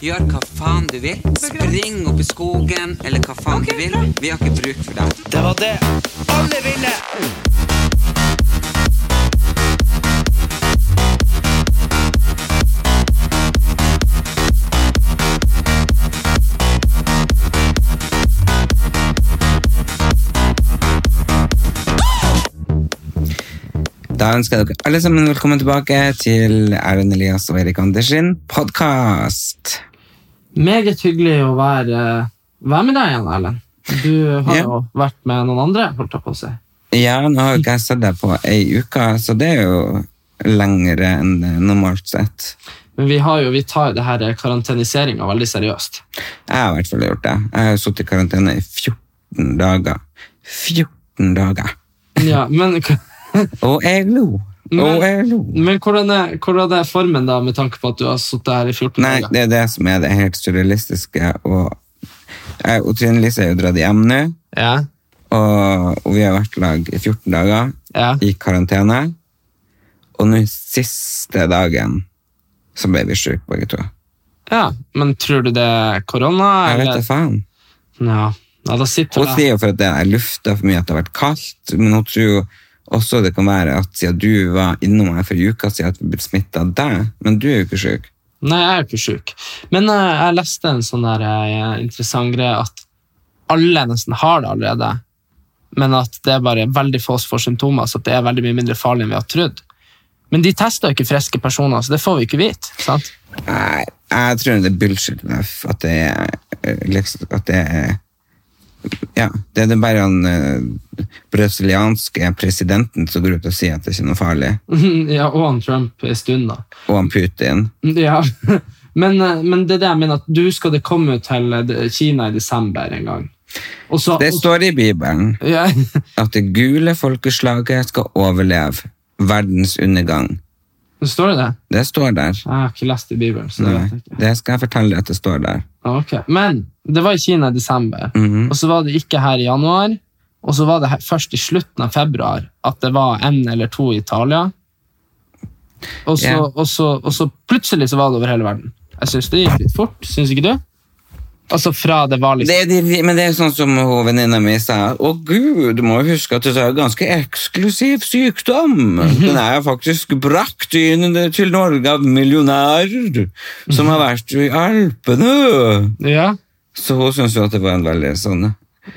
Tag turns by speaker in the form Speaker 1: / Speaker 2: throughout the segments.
Speaker 1: Gjør hva faen du vil. Spring opp i skogen, eller hva faen du vil. Vi har ikke bruk for deg.
Speaker 2: Det var det alle ville!
Speaker 1: Da ønsker jeg dere alle sammen velkommen tilbake til Erlend Elias og Erik Andersen podkast.
Speaker 3: Meget hyggelig å være, være med deg igjen, Erlend. Du har
Speaker 1: Ja.
Speaker 3: jo vært med noen andre, holdt jeg på å si.
Speaker 1: Ja, nå har jo ikke jeg sett deg på ei uke, så det er jo lengre enn det normalt sett.
Speaker 3: Men vi, har jo, vi tar jo det her karanteniseringa veldig seriøst.
Speaker 1: Jeg har i hvert fall gjort det. Jeg har jo sittet i karantene i 14 dager. 14 dager!
Speaker 3: Ja, men,
Speaker 1: Og jeg lo. Og jeg lo.
Speaker 3: men hvordan, er, hvordan er formen, da, med tanke på at du har sittet her i 14
Speaker 1: Nei,
Speaker 3: dager?
Speaker 1: det er det som er det helt surrealistiske. Og, jeg og Trine Lise er jo dratt hjem nå,
Speaker 3: Ja,
Speaker 1: og, og vi har vært lag i 14 dager
Speaker 3: ja.
Speaker 1: i karantene. Og nå siste dagen så ble vi syke begge to.
Speaker 3: ja. Men tror du det er korona?
Speaker 1: Jeg vet
Speaker 3: eller?
Speaker 1: da faen.
Speaker 3: Ja. Sånn, ja, da sitter
Speaker 1: Hun
Speaker 3: det
Speaker 1: sier jo for at det er lufta for mye, at det har vært kaldt, men hun tror jo også det kan være at siden du var innom her for uka siden at vi ble smittet av deg, men du er jo ikke syk.
Speaker 3: Nei, jeg er jo ikke sjuk. Men eh, jeg leste en sånn der eh, interessant greie at alle nesten har det allerede, men at det er bare veldig få som får symptomer, så at det er veldig mye mindre farlig enn vi har trodd. Men de tester jo ikke friske personer, så det får vi ikke vite. sant?
Speaker 1: Nei, jeg tror det er bullshit Leif, at det er eh, liksom, at det er ja, det er det bare han eh, brasilianske presidenten som går ut og sier at det ikke er noe farlig,
Speaker 3: ja, og han Trump en stund, da.
Speaker 1: og han Putin.
Speaker 3: Ja, men, eh, men det er det jeg mener, at du skal det komme til eh, det- Kina i desember en gang. Og så,
Speaker 1: Det står i Bibelen
Speaker 3: ja,
Speaker 1: at det gule folkeslaget skal overleve verdens undergang.
Speaker 3: Står det det?
Speaker 1: Det står der.
Speaker 3: Jeg har ikke lest i Bibelen. så det
Speaker 1: Nei,
Speaker 3: vet jeg ikke.
Speaker 1: det skal jeg fortelle deg at det står der.
Speaker 3: Ja, Ok, Men det var i Kina i desember,
Speaker 1: Mhm.
Speaker 3: og så var det ikke her i januar. Og så var det her, først i slutten av februar at det var en eller to i Italia. Og så,
Speaker 1: Ja.
Speaker 3: og så, og så plutselig så var det over hele verden. Jeg synes det gikk litt fort, syns ikke du? Altså fra det var liksom
Speaker 1: Det er de, men det er sånn som hun venninna mi sa. Å gud, du må jo huske at det er en ganske eksklusiv sykdom. Den er jo faktisk brakt inn til Norge av millionærer som har vært i Alpene.
Speaker 3: Ja,
Speaker 1: Så hun syntes jo at det var en veldig sånn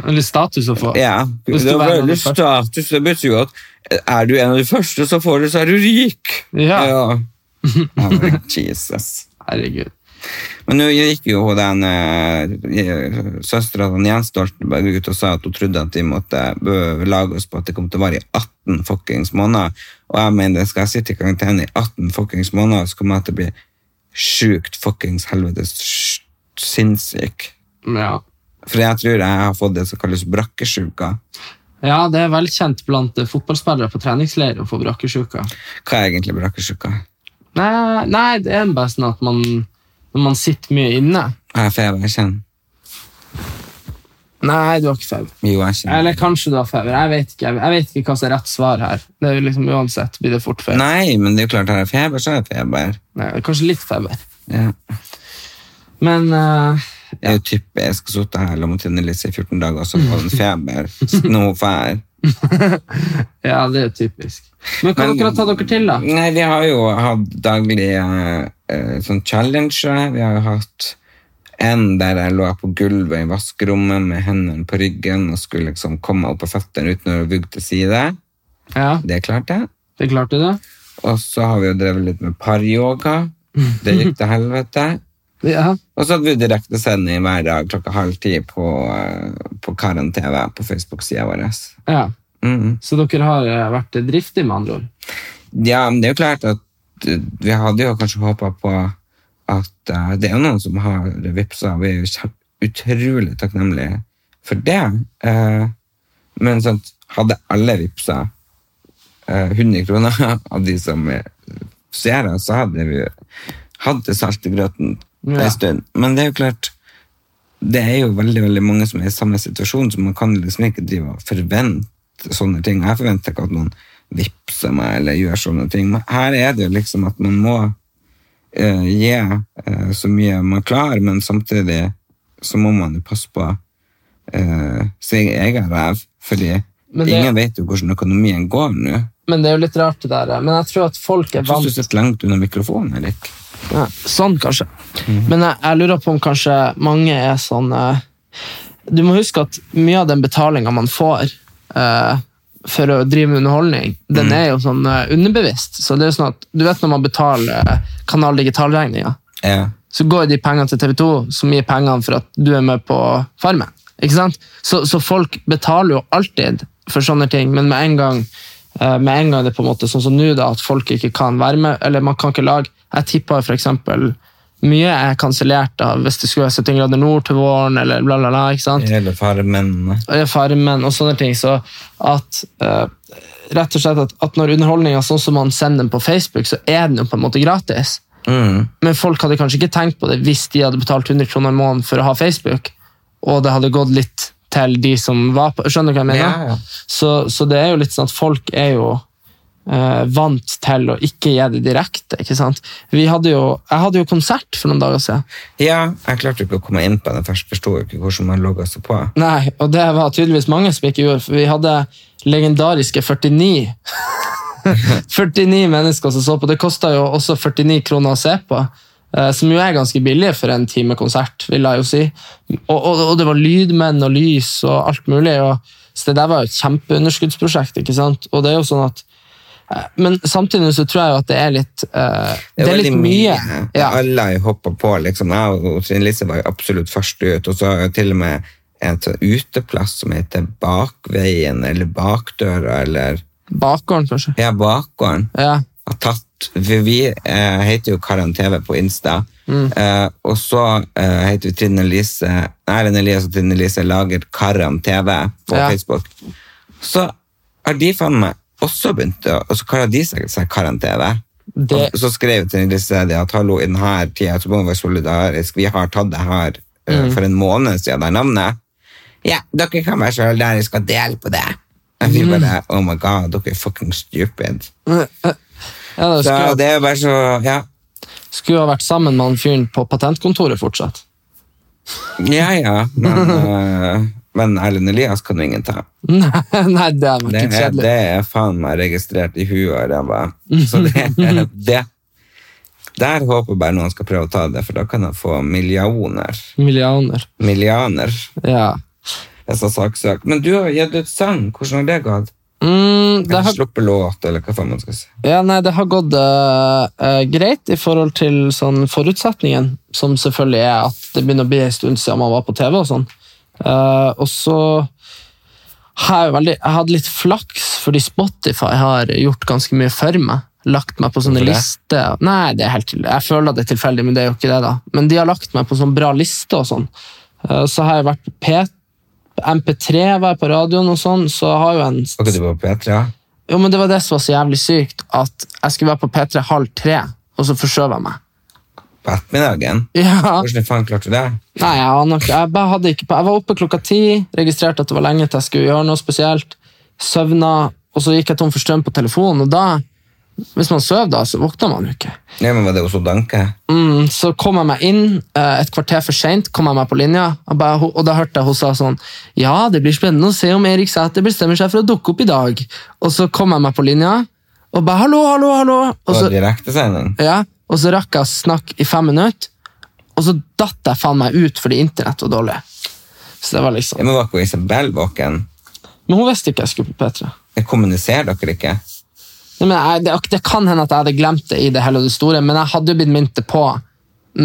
Speaker 3: Eller status å få.
Speaker 1: Ja,
Speaker 3: Hvis
Speaker 1: det
Speaker 3: du
Speaker 1: var
Speaker 3: var en av de
Speaker 1: veldig
Speaker 3: første.
Speaker 1: status. Det betyr jo at eh, er du en av de første som får det, så er du rik.
Speaker 3: Ja.
Speaker 1: Ja, men Jesus.
Speaker 3: Herregud.
Speaker 1: Men nå gikk jo hun den eh, søstera til Jens Stoltenberg ut og sa at hun trodde at de måtte eh, lage oss på at det kom til å vare i 18 fuckings måneder. Og jeg mener, skal jeg sitte i karantene i 18 fuckings måneder, så kommer jeg til å bli sjukt fuckings helvetes sj- sinnssyk.
Speaker 3: Ja.
Speaker 1: For jeg tror jeg har fått det som kalles brakkesjuka.
Speaker 3: ja, det er velkjent blant eh, fotballspillere på treningsleir å få brakkesjuka.
Speaker 1: Hva er egentlig brakkesjuka?
Speaker 3: Nei, nei, det er bare sånn at man, når man sitter mye inne
Speaker 1: Jeg har feber, jeg kjenner.
Speaker 3: Nei, du har ikke feber.
Speaker 1: Jo, jeg kjenner.
Speaker 3: Eller kanskje du har feber. Jeg vet ikke, jeg vet ikke hva som er rett svar her. Det er jo liksom Uansett blir det fort feber.
Speaker 1: Nei, men det er jo klart, har jeg feber, så har jeg feber.
Speaker 3: Nei, kanskje litt feber.
Speaker 1: Ja.
Speaker 3: Men eh,
Speaker 1: Det er jo typisk å sitte her og måtte Lise i 14 dager og så få en feber. Snofær.
Speaker 3: ja, det er jo typisk. Men hva
Speaker 1: Men-
Speaker 3: dere har tatt dere til, da?
Speaker 1: Nei, vi har jo hatt daglige eh, sånn challenger. Vi har jo hatt en der jeg lå på gulvet i vaskerommet med hendene på ryggen og skulle liksom komme opp på føttene uten å vugge til side.
Speaker 3: Ja,
Speaker 1: Det klarte jeg.
Speaker 3: Det klarte du?
Speaker 1: Og så har vi jo drevet litt med paryoga. Det gikk til helvete.
Speaker 3: Ja.
Speaker 1: Og så hadde vi direktesending hver dag klokka halv ti på, eh, på Karen TV på Facebook-sida vår.
Speaker 3: ja.
Speaker 1: Mm.
Speaker 3: Så dere har eh, vært driftige, med andre ord?
Speaker 1: Ja, men det er jo klart at eh, vi hadde jo kanskje håpa på at eh, det er jo noen som har vippsa, vi er jo kjem- utrolig takknemlige for det. Eh, men sånn, hadde alle vippsa eh, 100 kroner av de som eh, ser oss, så hadde vi hatt det salt i grøten en
Speaker 3: Ja.
Speaker 1: stund. Men det er jo klart det er jo veldig veldig mange som er i samme situasjon, så man kan liksom ikke drive og forvente sånne ting. Jeg forventer ikke at noen vippser meg eller gjør sånne ting, men her er det jo liksom at man må eh, gi eh, så mye man klarer, men samtidig så må man jo passe på eh, sin egen ræv, fordi
Speaker 3: Men det-
Speaker 1: ingen vet jo hvordan økonomien går nå.
Speaker 3: Men det er jo litt rart, det der. Men jeg tror at folk er
Speaker 1: Jeg synes
Speaker 3: vant
Speaker 1: du sitter langt under mikrofonen, Erik.
Speaker 3: Ja, Sånn, kanskje. Men jeg, jeg lurer på om kanskje mange er sånn eh, Du må huske at mye av den betalinga man får eh, for å drive med underholdning, den er jo sånn eh, underbevisst. Så det er jo sånn at Du vet når man betaler eh, Kanal Digital-regninga,
Speaker 1: Ja.
Speaker 3: så går de pengene til TV 2, som gir pengene for at du er med på Farmen. Ikke sant? Så, så folk betaler jo alltid for sånne ting, men med en gang eh, med en gang det på en måte sånn som nå, da, at folk ikke kan være med, eller man kan ikke lage Jeg tippa f.eks. mye er kansellert av hvis det skulle være 17 grader nord til våren, eller bla, bla, bla. ikke sant?
Speaker 1: Hele farmen.
Speaker 3: eller Farmen og sånne ting. Så at eh, rett og slett at, at når underholdninga sånn som man sender den på Facebook, så er den jo på en måte gratis.
Speaker 1: Mm.
Speaker 3: Men folk hadde kanskje ikke tenkt på det hvis de hadde betalt 100 kroner i måneden for å ha Facebook, og det hadde gått litt til de som var på Skjønner du hva jeg mener?
Speaker 1: Ja, ja.
Speaker 3: Så, så det er jo litt sånn at folk er jo eh, vant til å ikke gi det direkte, ikke sant? Vi hadde jo, jeg hadde jo konsert for noen dager siden.
Speaker 1: Ja, jeg klarte jo ikke å komme inn på den først, forsto jo ikke hvordan man logget seg på.
Speaker 3: Nei, og det var tydeligvis mange som ikke gjorde, for vi hadde legendariske 49 49 mennesker som så på. Det kosta jo også 49 kroner å se på, eh, som jo er ganske billig for en time konsert, vil jeg jo si. Og, og, og det var lydmenn og lys og alt mulig, og, så det der var jo et kjempeunderskuddsprosjekt, ikke sant? Og det er jo sånn at eh, men samtidig så tror jeg jo at det er litt eh, Det er,
Speaker 1: veldig
Speaker 3: litt mye. Ja.
Speaker 1: Alle har jo hoppet på, liksom. Jeg og Trine Lise var jo absolutt først ut, og så har jeg til og med en sånn uteplass som heter Bakveien, eller Bakdøra, eller
Speaker 3: Bakgården, kanskje.
Speaker 1: Ja, Bakgården.
Speaker 3: Ja.
Speaker 1: har tatt For vi eh, heter jo Karan TV på Insta.
Speaker 3: Mm.
Speaker 1: Eh, og så eh, heter vi Trine Lise Erlend Elias og Trine Lise lager Karan TV på
Speaker 3: Ja.
Speaker 1: Facebook. Så har de faen meg også begynt å Og så kaller de seg, seg Karan TV.
Speaker 3: Det-
Speaker 1: Og så skrev Trine Lise det at hallo, i denne tida så må vi være solidarisk. Vi har tatt det her eh,
Speaker 3: Mm.
Speaker 1: for en måned siden, det er navnet. Ja, dere kan være solidariske og dele på det. Jeg blir
Speaker 3: Mm.
Speaker 1: bare Oh my god, dere er fucking stupid.
Speaker 3: Ja,
Speaker 1: Så
Speaker 3: det skulle,
Speaker 1: det er bare så, ja.
Speaker 3: skulle ha vært sammen med han fyren på patentkontoret fortsatt.
Speaker 1: Ja, ja, men, eh, men Erlend Elias kan jo ingen ta.
Speaker 3: Nei, nei, det
Speaker 1: Det
Speaker 3: hadde vært litt
Speaker 1: er,
Speaker 3: kjedelig.
Speaker 1: det er faen meg registrert i huet og ræva. Så det, det Der håper jeg bare noen skal prøve å ta det, for da kan jeg få millioner.
Speaker 3: Millioner.
Speaker 1: Millianer.
Speaker 3: Ja.
Speaker 1: Jeg sa saksøk. Men du har gitt ut sang. Hvordan har det gått?
Speaker 3: Mm, det,
Speaker 1: Eller
Speaker 3: har,
Speaker 1: Sluppet låt, eller hva faen man skal si.
Speaker 3: ja, nei, det har gått eh, eh, greit i forhold til sånn forutsetningen, som selvfølgelig er at det begynner å bli en stund siden man var på TV og sånn. Eh, og så har jeg, jo veldig, jeg hadde litt flaks, fordi Spotify har gjort ganske mye for meg. Lagt meg på sånne
Speaker 1: Hvorfor det?
Speaker 3: lister. Nei, det er helt til- Jeg føler at det er tilfeldig, men det er jo ikke det, da. Men de har lagt meg på sånn bra liste og sånn. Eh, Så har jeg vært på P MP3 var jeg på radioen og sånn, så har jo en
Speaker 1: Var ikke du på P3?
Speaker 3: Jo, men det var det som var så jævlig sykt, at jeg skulle være på P3 halv tre, og så forskjøv jeg meg.
Speaker 1: På ettermiddagen?
Speaker 3: Ja.
Speaker 1: Hvordan i faen klarte du det?
Speaker 3: Nei, jeg aner ikke. Jeg, bare hadde ikke. på- jeg var oppe klokka ti, registrerte at det var lenge til jeg skulle gjøre noe spesielt, søvna, og så gikk jeg tom for strøm på telefonen, og da, hvis man søv da, så våkner man jo ikke.
Speaker 1: Ja, men Var det Oslo Danke?
Speaker 3: Mm, så kom jeg meg inn, eh, et kvarter for sent, kom jeg meg på linja, og, bare, og da hørte jeg hun sa sånn, ja, det blir spennende å se om Erik Sæther bestemmer seg for å dukke opp i dag. Og så kom jeg meg på linja, og bare, hallo, hallo, hallo. Og
Speaker 1: På
Speaker 3: så,
Speaker 1: direktesending?
Speaker 3: ja, og så rakk jeg å snakke i fem minutter, og så datt jeg faen meg ut fordi internett var dårlig. Så det var
Speaker 1: Ja,
Speaker 3: liksom...
Speaker 1: Men var ikke Isabel våken?
Speaker 3: Men hun visste ikke jeg skulle på P3.
Speaker 1: Jeg kommuniserer dere ikke?
Speaker 3: Nei, men jeg, det, det kan hende at jeg hadde glemt det i det hele og det store, men jeg hadde jo blitt minnet på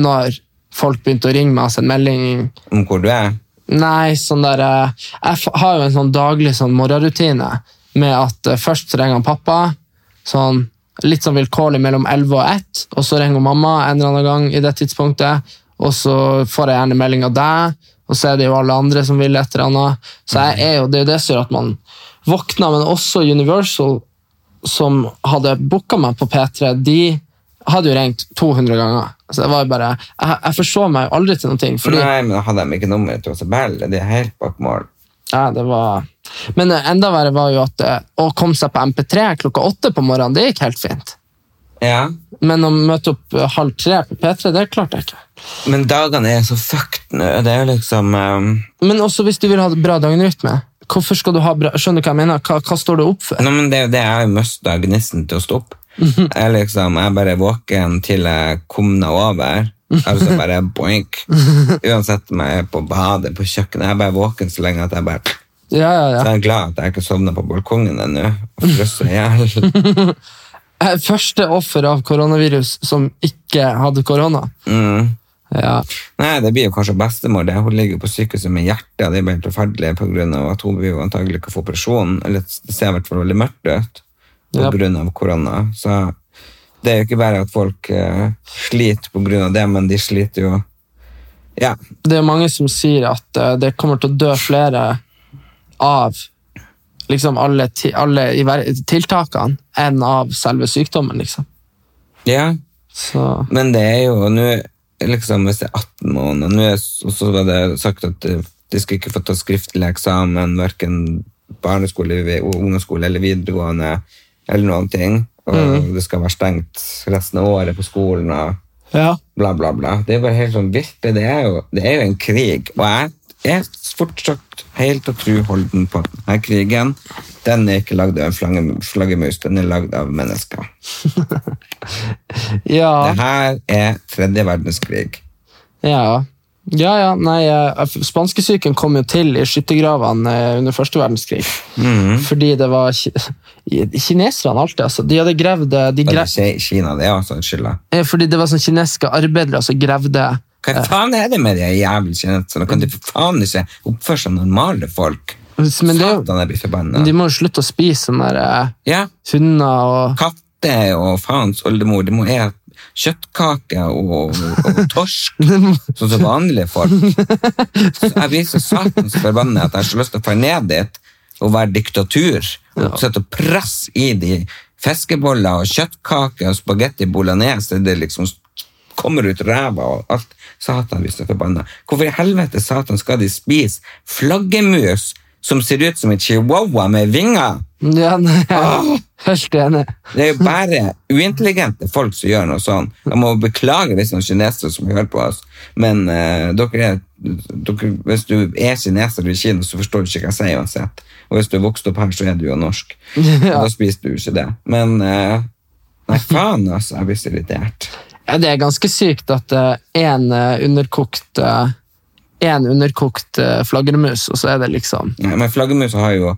Speaker 3: når folk begynte å ringe meg og sende melding.
Speaker 1: om hvor du er.
Speaker 3: Nei, sånn der... eh, Jeg f- har jo en sånn daglig sånn morgenrutine med at eh, først så ringer han pappa, sånn litt sånn vilkårlig mellom 11 og 1, og så ringer mamma en eller annen gang i det tidspunktet, og så får jeg gjerne melding av deg, og så er det jo alle andre som vil et eller annet. Så jeg er jo, det er jo det som gjør at man våkner, men også Universal, som hadde booka meg på P3, de hadde jo ringt 200 ganger. Så det var jo bare, jeg, jeg forsov meg jo aldri til noen ting. Fordi,
Speaker 1: Nei, men da hadde de ikke nummeret til Isabel. Det er helt bak mål.
Speaker 3: Ja, det var... Men eh, enda verre var jo at eh, å komme seg på MP3 klokka åtte på morgenen, det gikk helt fint.
Speaker 1: Ja.
Speaker 3: Men å møte opp eh, halv tre på P3, det klarte jeg ikke.
Speaker 1: Men dagene er så fucked nå. Det er jo liksom eh,
Speaker 3: Men også hvis du vil ha bra døgnrytme. Hvorfor skal du ha bra Skjønner du hva jeg mener? Hva, hva står du opp for?
Speaker 1: Nei, men det er jo det jeg mista gnisten til å stå opp. Jeg liksom, jeg bare er våken til jeg komna over. Altså bare boink. Uansett om jeg er på badet, på kjøkkenet. Jeg er bare våken så lenge at jeg bare
Speaker 3: Ja, ja,
Speaker 1: Så
Speaker 3: ja.
Speaker 1: jeg er glad at jeg ikke sovna på balkongen ennå og frøs i hjel.
Speaker 3: Jeg er Eh, Første offer av koronavirus som ikke hadde korona.
Speaker 1: Mm.
Speaker 3: Ja.
Speaker 1: Nei, det blir jo kanskje bestemor. det. Hun ligger jo på sykehuset med hjertet, og det er bare helt forferdelig på grunn av at hun vil jo antagelig ikke få operasjon. Eller det ser i hvert fall veldig mørkt ut på
Speaker 3: Ja.
Speaker 1: grunn av korona. Så det er jo ikke bare at folk eh, sliter på grunn av det, men de sliter jo Ja.
Speaker 3: Det er mange som sier at eh, det kommer til å dø flere av liksom alle, ti, alle iver- tiltakene enn av selve sykdommen, liksom.
Speaker 1: ja.
Speaker 3: Så
Speaker 1: Men det er jo nå liksom Hvis det er 18 måneder nå er- Og så var det sagt at eh, de skal ikke få ta skriftlig eksamen, verken barneskole, vi- ungdomsskole eller videregående eller noen ting. Og det skal være stengt resten av året på skolen og
Speaker 3: ja.
Speaker 1: bla, bla, bla. Det er bare helt sånn virkelig. Det er jo, det er jo en krig. Og jeg er fortsatt helt og tru holden på at denne krigen. Den er ikke lagd av en flagge- flaggermus, den er lagd av mennesker.
Speaker 3: Ja,
Speaker 1: Det her er tredje verdenskrig.
Speaker 3: ja. Ja, ja, nei, eh, Spanskesyken kom jo til i skyttergravene eh, under første verdenskrig.
Speaker 1: Mhm.
Speaker 3: Fordi det var ki- Kineserne alltid, altså. De hadde gravd eh, de
Speaker 1: Eller
Speaker 3: grev,
Speaker 1: Ki- Kina, det er også en skylda.
Speaker 3: eh, Fordi det var sånn kinesiske arbeidere som gravde
Speaker 1: Hva faen er det med de jævla kineserne? Kan de for faen ikke oppføre seg normale folk?
Speaker 3: Men det, er jo-
Speaker 1: Satan, jeg blir forbanna.
Speaker 3: de må jo slutte å spise sånne der, eh,
Speaker 1: Ja,
Speaker 3: hunder og
Speaker 1: katter og faens oldemor, de må ete kjøttkaker og, og torsk, sånn som vanlige folk. Så jeg blir så satans forbanna at jeg har så lyst til å dra ned dit og være diktatur. Og sette og presse i de fiskeboller og kjøttkaker og spagetti bolognese til det liksom kommer ut ræva og alt. Satan blir så forbanna. Hvorfor i helvete satan skal de spise flaggermus som ser ut som en chihuahua med vinger?
Speaker 3: Ja, nei, jeg er helt enig.
Speaker 1: Det er jo bare uintelligente folk som gjør noe sånn. Jeg må beklage hvis noen kinesere som hører på oss, men eh, dere er, dere, hvis du er kineser i Kina, så forstår du ikke hva jeg sier uansett. Og hvis du er vokst opp her, så er du jo norsk.
Speaker 3: Ja.
Speaker 1: Da spiser du jo ikke det. Men eh, nei, faen altså, jeg blir så irritert.
Speaker 3: Ja, det er ganske sykt at én underkokt eh, en underkokt eh, flaggermus, og så er det liksom
Speaker 1: Nei, men flaggermusa har jo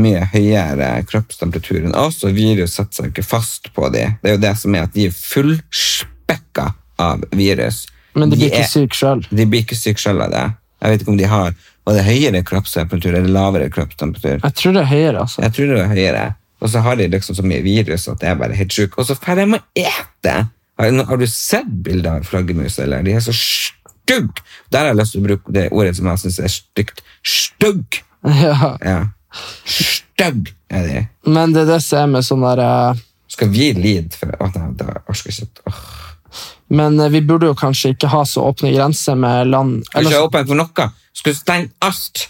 Speaker 1: mye høyere kroppstemperatur enn oss, og virus setter seg jo ikke fast på dem. Det er jo det som er at de er fullspekka av virus.
Speaker 3: Men de blir
Speaker 1: er-
Speaker 3: ikke syke sjøl.
Speaker 1: De blir ikke syke selv av det. Jeg vet ikke om de har var det høyere kroppstemperatur eller lavere kroppstemperatur.
Speaker 3: Jeg tror det er høyere, altså.
Speaker 1: Jeg tror det var høyere. Og så har de liksom så mye virus at jeg er bare helt sjuk. Og så får de å ete! Har, har du sett bilder av flaggermus, eller? De er så stygge! Der har jeg lyst til å bruke det ordet som jeg syns er stygt. Stygg!
Speaker 3: Ja.
Speaker 1: Ja. Stygg er de.
Speaker 3: Men det er det som er med sånn der eh,
Speaker 1: Skal vi lide for Å, nei, da orker jeg ikke. Åh.
Speaker 3: Men eh, vi burde jo kanskje ikke ha så åpne grenser med land
Speaker 1: Skal ikke
Speaker 3: eller,
Speaker 1: være åpen for noe. Skal stenge alt.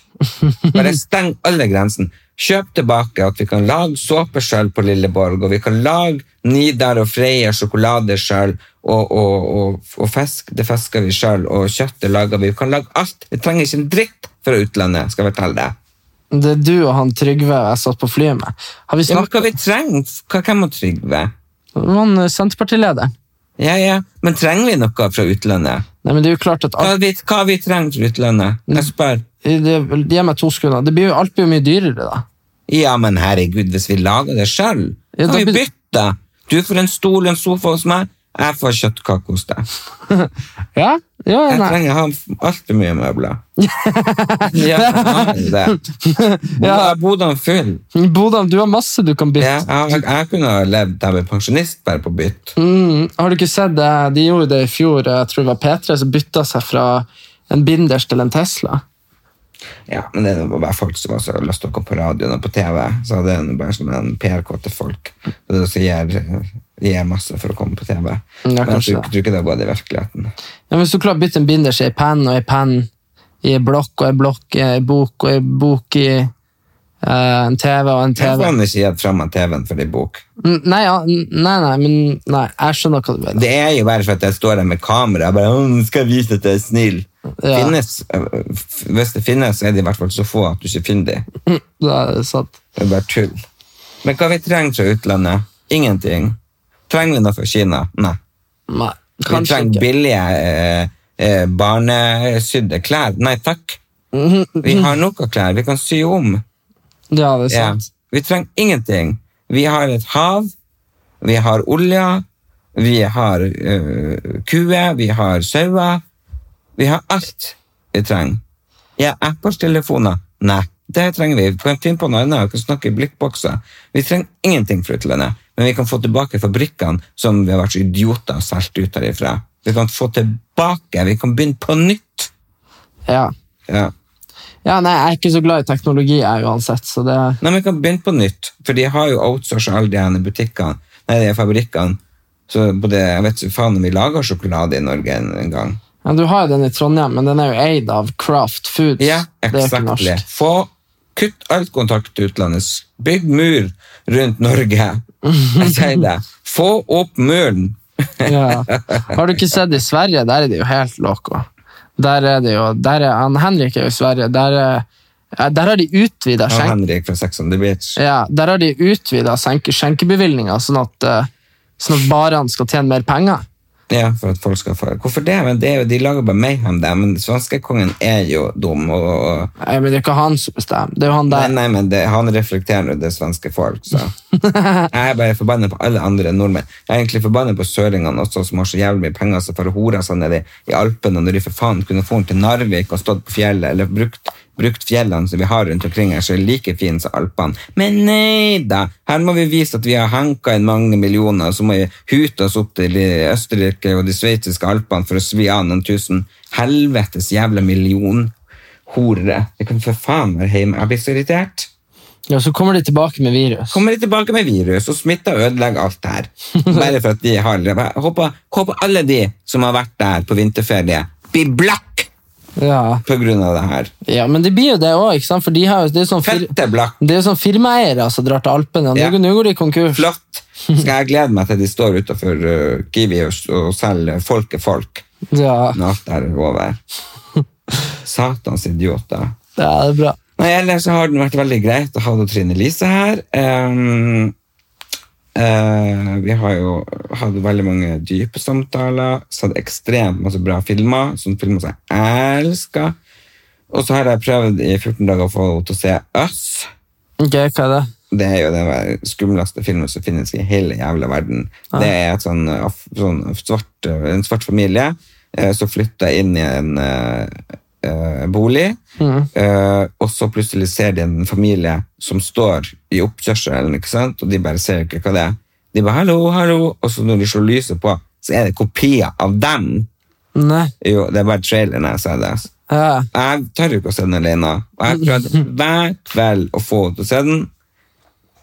Speaker 1: Bare steng alle grensene. Kjøp tilbake at vi kan lage såpe sjøl på Lilleborg, og vi kan lage Nidar og Freia sjokolade sjøl, og, og, og, og fisk det fisker vi sjøl, og kjøttet lager vi. Vi kan lage alt. Vi trenger ikke en dritt fra utlandet, skal jeg fortelle deg.
Speaker 3: sånn. Det er du og han Trygve jeg satt på flyet med. Har vi
Speaker 1: Ja, men
Speaker 3: snakket
Speaker 1: hva vi trenger? Hva kan man Trygve?
Speaker 3: om eh, Senterpartilederen?
Speaker 1: Ja, ja, men trenger vi noe fra utlandet?
Speaker 3: Nei, men det er jo klart at alt,
Speaker 1: Hva vi, hva vi trenger fra utlandet? Jeg spør.
Speaker 3: det, Gi meg to sekunder. Det blir jo, alt blir jo mye dyrere, da.
Speaker 1: Ja, men herregud, hvis vi lager det sjøl,
Speaker 3: Ja,
Speaker 1: kan
Speaker 3: da
Speaker 1: vi
Speaker 3: blir-
Speaker 1: bytte. Du får en stol og en sofa hos meg, jeg får kjøttkake hos deg.
Speaker 3: Sånn Ja? Ja,
Speaker 1: Jeg
Speaker 3: nei.
Speaker 1: trenger å ha altfor mye møbler. ja, jeg har jo det. Bo-
Speaker 3: Ja.
Speaker 1: Jeg bodde han full.
Speaker 3: Bodam, du har masse du kan bytte.
Speaker 1: Ja, jeg, jeg kunne ha levd der med pensjonist bare på bytt.
Speaker 3: Mm, har du ikke sett det? De gjorde det i fjor, eh, jeg tror det var P3, som bytta seg fra en binders til en Tesla.
Speaker 1: Ja, men det var bare folk som også hadde lyst til å gå på radioen og på TV, så det er jo bare som en PRK til folk. Det er det som gir, gir masse for å komme på TV. men jeg
Speaker 3: kanskje
Speaker 1: tror, tror ikke det har gått i virkeligheten.
Speaker 3: Ja, hvis du klarer å bytte en binders i en penn og en penn i en blokk og en blokk i en bok og en bok i Eh, en TV og en
Speaker 1: Jeg
Speaker 3: TV.
Speaker 1: kan ikke gitt fram av TV-en for en bok.
Speaker 3: Mm, Nei, ja, n- nei, nei, men nei, jeg skjønner hva du mener.
Speaker 1: Det er jo bare for at jeg står der med kamera og bare «Åh, nå skal jeg vise at jeg er snill.
Speaker 3: Ja.
Speaker 1: Finnes, øh, f- hvis det finnes, så er det i hvert fall så få at du ikke finner dem.
Speaker 3: Det er sant.
Speaker 1: Det er bare tull. Men hva vi trenger fra utlandet? Ingenting. Trenger vi noe fra Kina? Nei.
Speaker 3: Nei,
Speaker 1: Vi
Speaker 3: kanskje
Speaker 1: trenger
Speaker 3: ikke.
Speaker 1: billige eh, eh, barnesydde klær. Nei takk.
Speaker 3: Mm.
Speaker 1: Vi har nok av klær. Vi kan sy om.
Speaker 3: Ja, det er
Speaker 1: Ja.
Speaker 3: sant.
Speaker 1: Vi trenger ingenting. Vi har et hav, vi har olja, vi har eh, kuer, vi har sauer. Vi har alt vi trenger. Ja, Apple-telefoner? Nei, det trenger vi. Vi kan finne på noe annet, vi kan snakke i blikkbokser. Vi trenger ingenting fra utlandet, men vi kan få tilbake fabrikkene som vi har vært så idioter og solgt ut herifra. Vi kan få tilbake, vi kan begynne på nytt.
Speaker 3: Ja.
Speaker 1: Ja.
Speaker 3: ja, nei, jeg er ikke så glad i teknologi, jeg uansett, så det
Speaker 1: Nei, men vi kan begynne på nytt, for de har jo outsourcet alle de her butikkene, nei, de her fabrikkene. Så både, jeg vet ikke faen om vi lager sjokolade i Norge en, en gang.
Speaker 3: ja, Du har jo den i Trondheim, men den er jo eid av Craft Foods.
Speaker 1: Ja,
Speaker 3: det er jo ikke
Speaker 1: eksakt.
Speaker 3: norsk.
Speaker 1: Få, kutt alt kontakt til utlandet. Bygg mur rundt Norge. Jeg sier det. Få opp muren.
Speaker 3: Ja. Har du ikke sett i Sverige? Der er det jo helt loco. Der er det jo, der er, han Henrik er jo i Sverige. Der, er, ja, der har de utvida
Speaker 1: Og
Speaker 3: skjenk,
Speaker 1: Henrik fra Sex on the Beach.
Speaker 3: ja, der har de utvidet skjenk, skjenkebevilgninger, sånn at, eh, sånn at barene skal tjene mer penger.
Speaker 1: Ja, for at folk skal få... Hvorfor det? Men det er jo, de lager bare mayhem der, men svenskekongen er jo dum, og... og
Speaker 3: Nei, men det er ikke han som bestemmer. Det er jo han
Speaker 1: Nei,
Speaker 3: der.
Speaker 1: nei, men det, han reflekterer jo det svenske folk, så. Jeg er bare forbannet på alle andre nordmenn. Jeg er egentlig forbannet på søringene også, som har så jævlig mye penger, så for å hore seg nede i Alpene, når de for faen kunne få den til Narvik og stått på fjellet, eller brukt, brukt fjellene som vi har rundt omkring her, så er det like fine som Alpene. Men nei da! Her må vi vise at vi har hanka inn mange millioner, og så må vi hute oss opp til de Østerrike og de sveitsiske Alpene for å svi av noen tusen helvetes jævla million horere. Jeg kan for faen være hjemme. Jeg blir så irritert.
Speaker 3: Ja, så kommer de tilbake med virus.
Speaker 1: Kommer de tilbake med virus og smitter og ødelegger alt det her. Bare for at de har Jeg håper, håper alle de som har vært der på vinterferie, blir blakk
Speaker 3: Ja.
Speaker 1: på grunn av det her.
Speaker 3: ja, men det blir jo det òg, ikke sant? For de har jo, det er jo sånn, fir
Speaker 1: Fette blakk.
Speaker 3: det er jo sånn firmaeiere som drar til Alpene. og Nå
Speaker 1: Ja.
Speaker 3: går- nå går de konkurs.
Speaker 1: Flott. Skal jeg glede meg til de står utenfor uh, Kiwi og, og selger folket folk
Speaker 3: Ja.
Speaker 1: når alt det her er over. Satans idioter.
Speaker 3: ja, det er bra.
Speaker 1: Nei, ellers så har det vært veldig greit å ha det Trine Lise her. Ehm, eh, vi har jo hatt veldig mange dype samtaler, sett ekstremt masse bra filmer, sånne filmer som jeg elsker. Og så har jeg prøvd i 14 dager å få henne til å se Us.
Speaker 3: Ok, hva er det?
Speaker 1: Det er jo den skumleste filmen som finnes i hele jævla verden. Det er et sånn, eh, af- sånn svart, eh, en svart familie eh, som flytter inn i en eh, eh, bolig, eh, og så plutselig ser de en familie som står i oppkjørselen, ikke sant? og de bare ser ikke hva det er. De bare 'hallo, hallo', og så når de slår lyset på, så er det kopier av dem.
Speaker 3: Nei.
Speaker 1: Jo, det er bare traileren jeg sa det.
Speaker 3: Ja.
Speaker 1: Jeg tør jo ikke å se den alene. Og jeg prøvde hver kveld å få henne til å se den.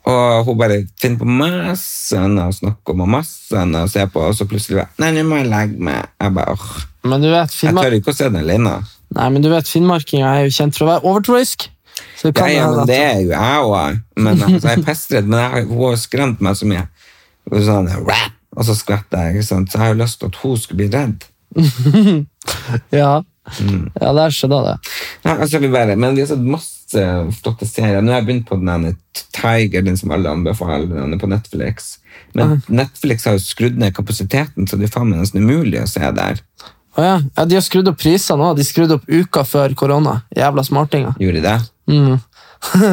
Speaker 1: Og hun bare finner på masse annet å snakke om og masse annet å se på, og så plutselig bare Nei, nå må jeg legge meg. Jeg bare åh.
Speaker 3: Men du vet,
Speaker 1: Jeg
Speaker 3: Finnmark...
Speaker 1: tør ikke å se den alene.
Speaker 3: Nei, men du vet, finnmarkinger er jo kjent for å være overtroisk. Så det
Speaker 1: Ja,
Speaker 3: kan
Speaker 1: ja,
Speaker 3: hende
Speaker 1: men
Speaker 3: at-
Speaker 1: det er jo jeg òg. Men altså, jeg er pestredd, men jeg, hun har skremt meg så mye. Og Sånn, «Rah!» og så skvetter jeg, ikke sant. Så jeg har jo lyst til at hun skulle bli redd.
Speaker 3: Ja.
Speaker 1: Mm.
Speaker 3: ja, der skjedde det.
Speaker 1: Nei, altså, vi bare, men vi har sett masse flotte serier. Nå har jeg begynt på den ene Tiger, den som alle anbefaler, den er på Netflix. Men Netflix har jo skrudd ned kapasiteten, så det er faen meg nesten umulig å se der.
Speaker 3: Å ja. ja, de har skrudd opp priser nå. De skrudde opp uka før korona. Jævla smartinger.
Speaker 1: Gjorde de det?
Speaker 3: Mm.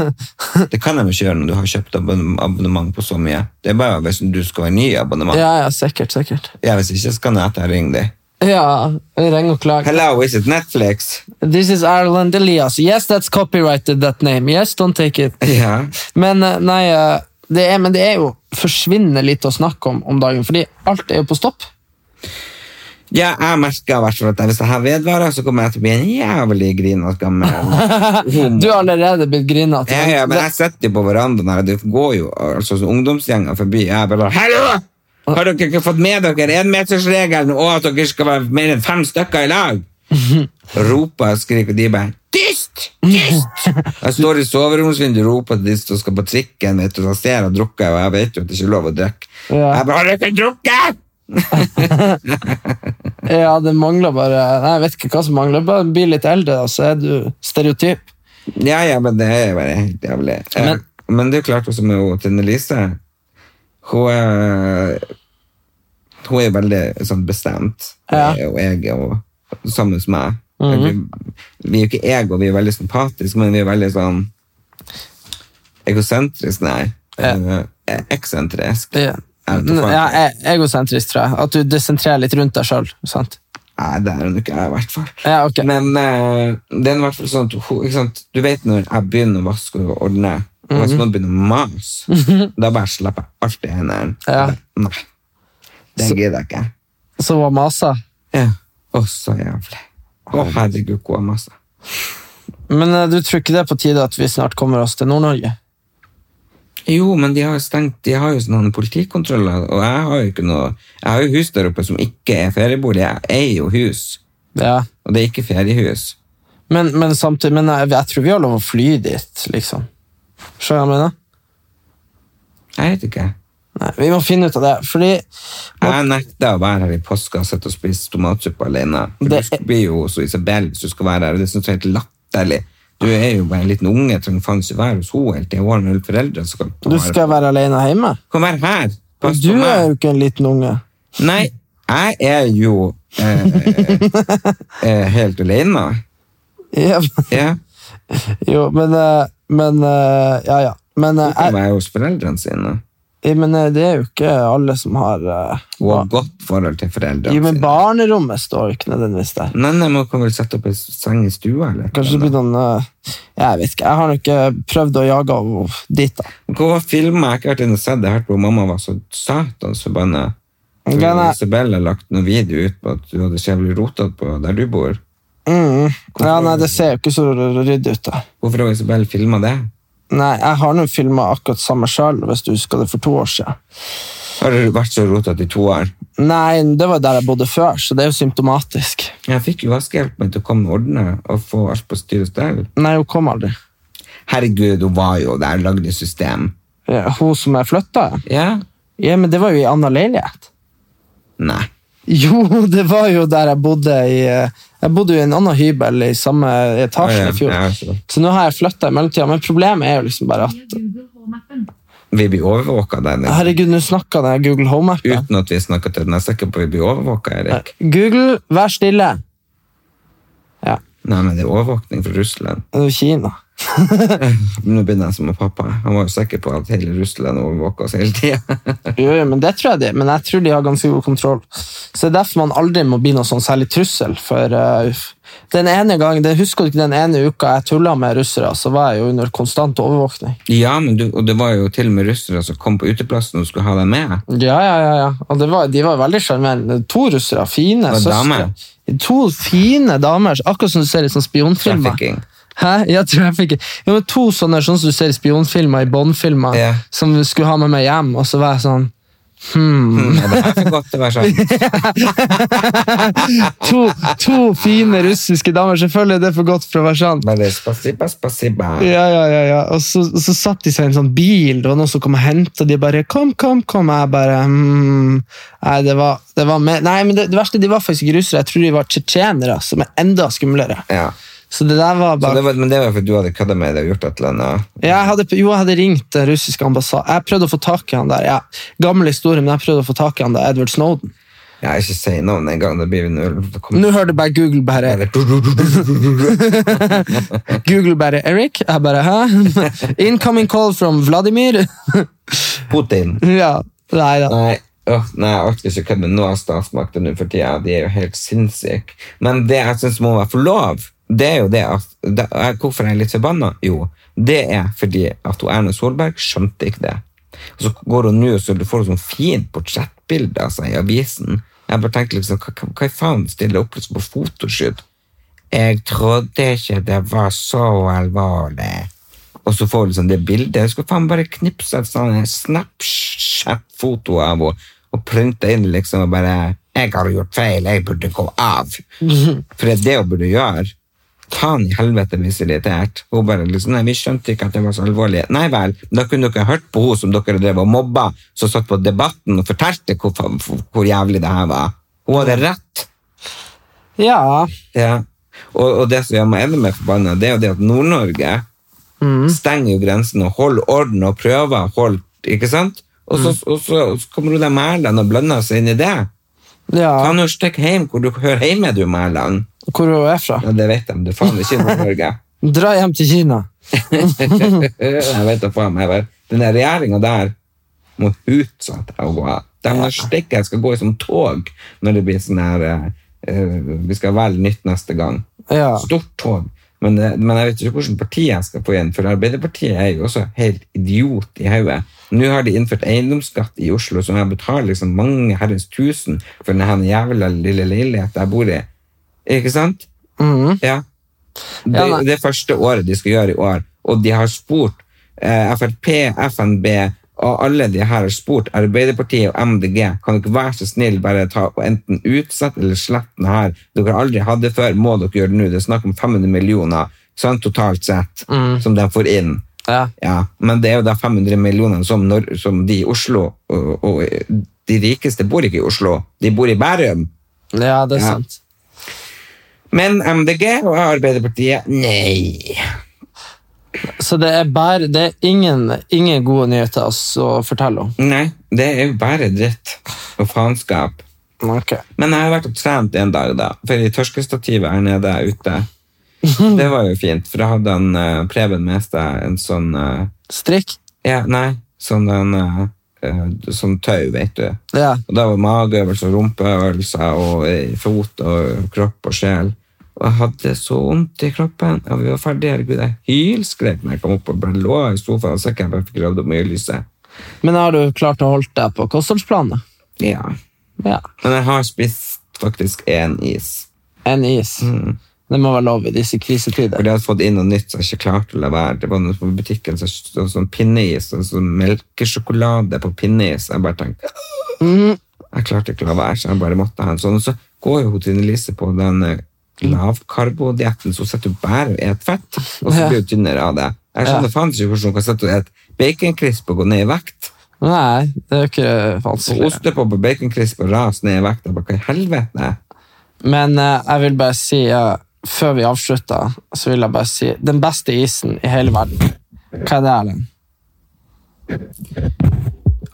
Speaker 1: Det kan de ikke gjøre når du har kjøpt abonn- abonnement på så mye. Det er bare hvis du skal ha en ny abonnement. Ja.
Speaker 3: Ja, ja, sikkert, sikkert.
Speaker 1: hvis ikke, så kan jeg ta og ringe deg.
Speaker 3: Ja, ring og klag.
Speaker 1: Hello, is it Netflix?
Speaker 3: This is Ireland Elias. Yes, that's copyrighted, that name. Yes, don't take it.
Speaker 1: Ja.
Speaker 3: Men eh, nei, eh, det er, men det er jo forsvinnende lite å snakke om om dagen, fordi alt er jo på stopp.
Speaker 1: Ja, jeg merker i hvert fall at hvis det her vedvarer, så kommer jeg til å bli en jævlig grin og gammel.
Speaker 3: Du har allerede blitt grina til.
Speaker 1: Ja, ja, men jeg sitter jo på verandaen her, og det går jo altså, sånn ungdomsgjenger forbi. Jeg bare Hallo! Har dere ikke fått med dere enmetersregelen og at dere skal være mer enn fem stykker i lag? roper og skriker, og de bare Dyst! Dyst! Jeg står i soveromsvinduet og roper til dyst og skal på trikken. vet du, så Jeg ser og drukker, og jeg vet jo at det ikke er lov å drikke.
Speaker 3: Ja.
Speaker 1: Jeg bare Har du ikke drukket?!
Speaker 3: Ja, det mangler bare Nei, jeg vet ikke hva som mangler. Bare bli litt eldre, da, så er du stereotyp.
Speaker 1: Ja, ja, men det er bare helt jævlig. Eh,
Speaker 3: Men-
Speaker 1: men det er jo klart også med hun Tine Lise. Hun er Hun er veldig sånn bestemt,
Speaker 3: Ja. Mhm.
Speaker 1: Eh, og jeg og sammen med meg. vi, vi er jo ikke ego, vi er veldig sympatiske, men vi er veldig sånn Egosentrisk, nei.
Speaker 3: Ja.
Speaker 1: Eh, eksentrisk.
Speaker 3: Ja.
Speaker 1: Jeg vet da faen.
Speaker 3: Ja, e- egosentrisk, tror jeg. At du desentrerer litt rundt deg sjøl.
Speaker 1: Nei, det er hun ikke, jeg, i hvert fall.
Speaker 3: Ja, ok.
Speaker 1: Men eh, det er i hvert fall sånn at hun- ikke sant? Du vet når jeg begynner å vaske og ordne, og
Speaker 3: Mhm.
Speaker 1: hvis noen begynner å mase, da bare slapper jeg alt i hendene.
Speaker 3: Ja.
Speaker 1: Jeg bare, Nei, det
Speaker 3: Så-
Speaker 1: gidder jeg ikke.
Speaker 3: Så var masa.
Speaker 1: Ja. Å, så jævlig. Å, herregud, hvor masse.
Speaker 3: Men eh, du tror ikke det er på tide at vi snart kommer oss til Nord-Norge?
Speaker 1: Jo, men de har jo stengt, de har jo sånne politikontroller, og jeg har jo ikke noe, jeg har jo hus der oppe som ikke er feriebolig. Jeg eier jo hus,
Speaker 3: Ja.
Speaker 1: og det er ikke feriehus.
Speaker 3: Men, men samtidig Men eh, jeg, jeg tror vi har lov å fly dit, liksom. Skjønner du hva jeg mener?
Speaker 1: Jeg vet ikke.
Speaker 3: Nei, vi må finne ut av det. Fordi
Speaker 1: Jeg nekter å være her i påska og sitte og spise tomatsuppe alene. For
Speaker 3: Det-
Speaker 1: Du skal- blir jo hos Isabel hvis du skal være her, og det synes jeg er helt latterlig. Du er jo bare en liten unge, trenger faen ikke være hos henne hele tiden. Hun har null foreldre som kan ta
Speaker 3: du
Speaker 1: vare på
Speaker 3: skal være alene hjemme.
Speaker 1: Kom her her!
Speaker 3: Men
Speaker 1: Pass
Speaker 3: du
Speaker 1: på
Speaker 3: er
Speaker 1: meg!
Speaker 3: jo ikke en liten unge.
Speaker 1: Nei, jeg er jo eh, eh, helt alene.
Speaker 3: Ja, men-
Speaker 1: Ja,
Speaker 3: jo, men eh, Men eh, Ja, ja. Men, eh,
Speaker 1: hun kan
Speaker 3: jeg,
Speaker 1: være hos foreldrene sine.
Speaker 3: ja, men eh, det er jo ikke alle som har eh,
Speaker 1: Hun har godt forhold til foreldrene
Speaker 3: Jo, men
Speaker 1: sine.
Speaker 3: barnerommet står jo ikke nødvendigvis der.
Speaker 1: Nei, nei, men hun kan vel sette opp en seng i stua, eller?
Speaker 3: Kanskje det blir noen eh, Jeg vet ikke. Jeg har nå ikke prøvd å jage henne dit, da.
Speaker 1: Hvorfor filmer jeg ikke vært inne og sett det? Jeg hørte på mamma var så satans forbanna. For
Speaker 3: Ja, nei.
Speaker 1: Isabel har lagt noen video ut på at du hadde så jævlig rotet på der du bor.
Speaker 3: Mm. Ja, nei, det ser jo ikke så ryddig ut, da.
Speaker 1: Hvorfor har Isabel filmet det?
Speaker 3: Nei, jeg har nå filma akkurat samme sjøl, hvis du husker det for to år siden.
Speaker 1: Har du vært så rotet i to år?
Speaker 3: Nei, det var der jeg bodde før, så det er jo symptomatisk.
Speaker 1: Jeg fikk jo vaskehjelpen til å komme og ordne og få alt på styr og stell.
Speaker 3: Nei, hun kom aldri.
Speaker 1: Herregud, hun var jo der, lagde system.
Speaker 3: Ja, Hun som jeg flytta?
Speaker 1: Ja?
Speaker 3: Ja, men det var jo i anna leilighet.
Speaker 1: Nei.
Speaker 3: Jo, det var jo der jeg bodde i eh, Jeg bodde jo i en annen hybel i samme etasje i fjor.
Speaker 1: Ja, ja, så.
Speaker 3: Så nå har jeg flytta i mellomtida, men problemet er jo liksom bare at
Speaker 1: Vi blir overvåket der, Erik.
Speaker 3: Herregud, nå snakka den Google Home-appen.
Speaker 1: Uten at vi snakket til den. Jeg er sikker på at vi blir overvåket, Erik.
Speaker 3: Google, vær stille! Ja,
Speaker 1: Nei, men det er overvåkning fra Russland.
Speaker 3: det er jo Kina.
Speaker 1: Nå begynner jeg som med pappa. Han var jo sikker på at hele Russland overvåka oss hele tida.
Speaker 3: Jo, jo, men det tror jeg de, men jeg tror de har ganske god kontroll. Så det er derfor man aldri må bli noe sånn særlig trussel. For eh, uff. den ene gang, det Husker du ikke den ene uka jeg tulla med russere, så var jeg jo under konstant overvåkning.
Speaker 1: ja, men du, og det var jo til og med russere som kom på uteplassen og skulle ha deg med.
Speaker 3: Ja, ja, ja. ja. Og det var, de var veldig sjarmerende. To russere, fine
Speaker 1: Og
Speaker 3: søstre.
Speaker 1: damer.
Speaker 3: To fine damer, akkurat som du ser i sånne spionfilmer.
Speaker 1: Trafficking.
Speaker 3: Hæ? Ja, trafficking. Jo, men to sånne sånn som du ser i spionfilmer, i Bond-filmer,
Speaker 1: Ja.
Speaker 3: som skulle ha med meg hjem, og så var jeg sånn hmm.
Speaker 1: Mm. Det er for godt til å være sant.
Speaker 3: to, to fine russiske damer, selvfølgelig er det for godt for å være sant.
Speaker 1: Bare spasiba, spasiba.
Speaker 3: Ja, ja, ja, ja. Og så, og så satt de seg i en sånn bil, det var noen som kom og hentet, og de bare, kom, kom, kom, jeg bare, hmm. Nei, det var, det var mer- Nei, men det, det verste, de var faktisk ikke russere, jeg tror de var tjetjenere, som er enda skumlere.
Speaker 1: Ja.
Speaker 3: Så det der var
Speaker 1: Så
Speaker 3: bare...
Speaker 1: det var, men det var fordi du hadde kødda med det og gjort et eller annet.
Speaker 3: Ja, Jeg hadde, jo, jeg hadde ringt den russiske ambassaden. Jeg prøvde å få tak i han der. Ja, gammel historie, men jeg prøvde å få tak i han der, Edward Snowden.
Speaker 1: Ja, ikke si navn en gang, da blir vi null. Da kommer-
Speaker 3: Nå hørte bare Google bare
Speaker 1: Eller du, du, du, du, du, du, du.
Speaker 3: Google bare Eric. Jeg bare hæ? Incoming call from Vladimir.
Speaker 1: Putin.
Speaker 3: ja, nei da.
Speaker 1: Nei, åh, nei, jeg orker ikke kødde med noe av statsmakten nå for tida. De er jo helt sinnssyke. Men det jeg syns må være for lov, det er jo det at det, jeg- Hvorfor er jeg litt forbanna? Jo, det er fordi at hun Erna Solberg skjønte ikke det. Og så går hun nå og så får hun sånn fint portrettbilde av seg i avisen. Jeg bare tenker liksom, hva, hva- hva i faen stiller opp liksom på fotoshoot? Jeg trodde ikke det var så alvorlig. Og så får du liksom det bildet. Jeg skulle faen bare knipse et sånn Snapchat-foto av henne og printe inn liksom og bare jeg har gjort feil, jeg burde gå av. For det er det hun burde gjøre. Faen i helvete, hvis irritert. Hun bare liksom, nei, vi skjønte ikke at det var så alvorlig. Nei vel, men da kunne dere hørt på hun som dere drev og mobba, som satt på debatten og fortalte hvor, fa- hvor jævlig det her var. Hun hadde rett.
Speaker 3: Ja.
Speaker 1: Ja. Og, og det som gjør meg enda mer forbanna, det er jo det at Nord-Norge stenger jo grensen og holder orden og prøver. Hold, ikke sant? Og så, og så, og så kommer hun der Mæland og blander seg inn i det.
Speaker 3: ja.
Speaker 1: Kan du stikke hjem hvor du hører hjemme, du Mæland?
Speaker 3: Hvor er hun er fra?
Speaker 1: Ja, det vet de, du faen ikke i Nord-Norge.
Speaker 3: Dra hjem til Kina.
Speaker 1: jeg vet da faen meg vel. Den der regjeringen der må utsette å gå av. De der stikkene skal gå i som tog når det blir sånn her eh, eh, Vi skal velge nytt neste gang.
Speaker 3: Ja.
Speaker 1: Stort tog. Men, eh, men jeg vet ikke hvordan partiet jeg skal få igjen, for Arbeiderpartiet er jo også helt idiot i hodet. Nå har de innført eiendomsskatt i Oslo, som jeg betaler liksom mange herrens tusen for denne her jævla lille leiligheten jeg bor i. Ikke sant?
Speaker 3: Mhm.
Speaker 1: Ja. Det,
Speaker 3: Ja, nei.
Speaker 1: det er første året de skal gjøre i år, og de har spurt eh, Frp, FNB og alle de her har spurt Arbeiderpartiet og MDG. Kan dere være så snill bare ta og enten utsette eller slette den her? Dere har aldri hatt det før, må dere gjøre det nå. Det er snakk om 500 millioner sånn totalt sett
Speaker 3: Mm.
Speaker 1: som de får inn.
Speaker 3: Ja.
Speaker 1: Ja, men det er jo da 500 millioner som, når, som de i Oslo og, og de rikeste bor ikke i Oslo, de bor i Bærum.
Speaker 3: ja, det er
Speaker 1: Ja.
Speaker 3: sant.
Speaker 1: Men MDG og Arbeiderpartiet, nei.
Speaker 3: Så det er, bare, det er ingen, ingen gode nyheter å s- å fortelle om.
Speaker 1: Nei, det er jo bare dritt og faenskap.
Speaker 3: Ok.
Speaker 1: Men jeg har vært og trent en dag, da. For i tørkestativet her nede ute. Det var jo fint, for da hadde han eh, Preben med seg en sånn eh,
Speaker 3: Strikk?
Speaker 1: Ja, nei, sånn den eh, eh, Sånn tau, vet du.
Speaker 3: Ja.
Speaker 1: Og da var mageøvelser, rumpeøvelser og eh, fot og kropp og sjel. Og jeg hadde så vondt i kroppen. Og vi var ferdige. Herregud, jeg hylskrek når jeg kom opp og bare lå i sofaen og så ikke jeg bare fikk gravd opp mye lyset.
Speaker 3: Men har du klart å holde deg på kostholdsplanet?
Speaker 1: Ja.
Speaker 3: Ja.
Speaker 1: Men jeg har spist faktisk én is.
Speaker 3: En is. Det må være lov i disse krisetider.
Speaker 1: For jeg hadde fått inn noe nytt som jeg ikke klarte å la være. Det var noe på butikken som så, sånn pinneis, og sånn melkesjokolade på pinneis. Jeg bare tenkte
Speaker 3: Mhm.
Speaker 1: Jeg klarte ikke å la være, så jeg bare måtte ha en sånn. Og så går jo hun Trine Lise på den eh, lavkarbodietten, så hun sitter jo bare og spiser fett, og så
Speaker 3: Ja.
Speaker 1: blir hun tynnere av det. Jeg
Speaker 3: Ja.
Speaker 1: skjønner faen ikke hvordan hun kan sitte og spise baconcrisp og gå ned i vekt.
Speaker 3: Nei, det er jo ikke
Speaker 1: Og
Speaker 3: vanskelig.
Speaker 1: ostepop og baconcrisp og ras ned i vekt. Jeg bare, hva i helvete?
Speaker 3: Men eh, jeg vil bare si, eh, før vi avslutter, så vil jeg bare si den beste isen i hele verden. Hva er det, Erlend?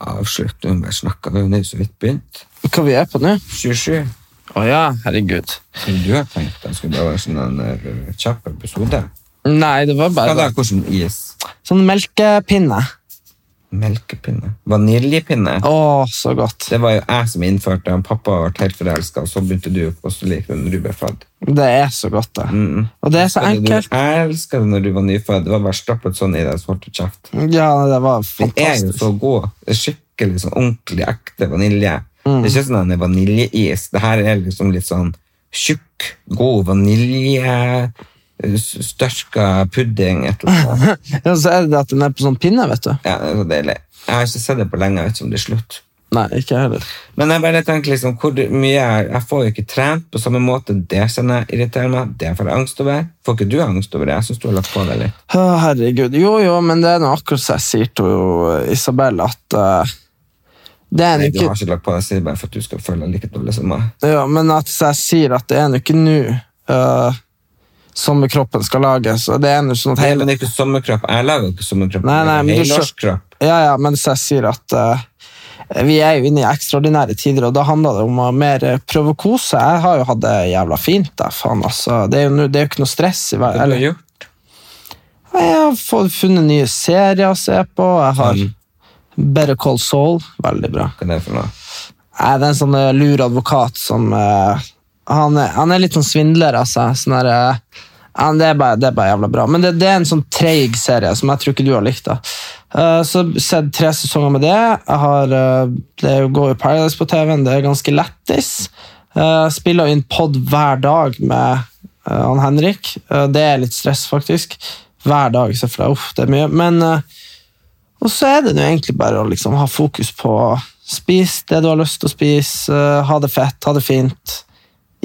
Speaker 1: Avslutt, hun bare snakka, hun er jo så vidt begynt.
Speaker 3: Hva vi er på nå?
Speaker 1: 27.
Speaker 3: Å ja, herregud.
Speaker 1: Som du har tenkt, det skulle bare være sånn en eh, kjapp episode.
Speaker 3: Nei, det var
Speaker 1: Hva
Speaker 3: bare
Speaker 1: da, hvordan is?
Speaker 3: sånn melkepinne.
Speaker 1: Melkepinne. Vaniljepinne.
Speaker 3: Å, så godt.
Speaker 1: Det var jo jeg som innførte den. Pappa ble helt forelska, og så begynte du å også like den når du ble født.
Speaker 3: Det er så godt, det.
Speaker 1: Mm.
Speaker 3: Og det er så enkelt.
Speaker 1: Jeg elska det når du var nyfødt. Det var bare stappet sånn i deg, så holdt du kjeft.
Speaker 3: Ja, det var
Speaker 1: Den er jo
Speaker 3: fantastisk.
Speaker 1: så god. Det er Skikkelig sånn ordentlig ekte vanilje. Det er ikke sånn en vaniljeis. Det her er liksom litt sånn tjukk, god vanilje, størka pudding, et eller annet.
Speaker 3: Ja, så er det det at den er på sånn pinne, vet du.
Speaker 1: Ja, det er så deilig. Jeg har ikke sett det på lenge, jeg vet ikke om det er slutt.
Speaker 3: Nei, ikke jeg heller.
Speaker 1: Men jeg bare tenker liksom, hvor mye jeg, jeg får jo ikke trent på samme måte. Det kjenner jeg irriterer meg. Det får jeg angst over. Får ikke du angst over det? Jeg synes du har lagt på deg litt.
Speaker 3: Å, herregud. Jo, jo, men det er nå akkurat som jeg sier til jo Isabel, at eh, det er
Speaker 1: Nei,
Speaker 3: nå
Speaker 1: du har
Speaker 3: ikke
Speaker 1: ikke lagt på deg, jeg sier bare for at du skal føle deg like dårlig som meg.
Speaker 3: ja, Men at jeg sier at det er nå ikke nå eh, sommerkroppen skal lages. Og det er nå sånn at
Speaker 1: Nei,
Speaker 3: hele
Speaker 1: men det er ikke sommerkropp. Jeg lager jo ikke sommerkropp.
Speaker 3: Nei, nei, men du skjø-
Speaker 1: Helårskropp.
Speaker 3: Ja, ja, mens jeg sier at eh, vi er jo inne i ekstraordinære tider, og da handler det om å mer eh, prøve å kose. Jeg har jo hatt det jævla fint, da, faen, altså. Det er jo, nu- det er jo ikke noe stress i
Speaker 1: Hva
Speaker 3: verden.
Speaker 1: har du
Speaker 3: Eller,
Speaker 1: gjort?
Speaker 3: jeg har fått- funnet nye serier å se på. Jeg har Better Call Saul, veldig bra.
Speaker 1: Hva er det for noe?
Speaker 3: Jeg er en sånn eh, lur advokat som eh, han, er, han er litt sånn svindler, altså. Sånn der, eh, han, det, er bare, det er bare jævla bra. Men det, det er en sånn treig serie som jeg tror ikke du har likt. da. Eh, så har jeg sett tre sesonger med det. Jeg har, eh, det er jo går jo Paradise på TV-en, det er ganske lættis. Uh, spiller inn pod hver dag med eh, han Henrik. Eh, det er litt stress, faktisk. Hver dag, selvfølgelig. Uff, det er mye. Men eh, og så er det jo egentlig bare å liksom ha fokus på Spis det du har lyst til å spise. eh, Ha det fett, ha det fint.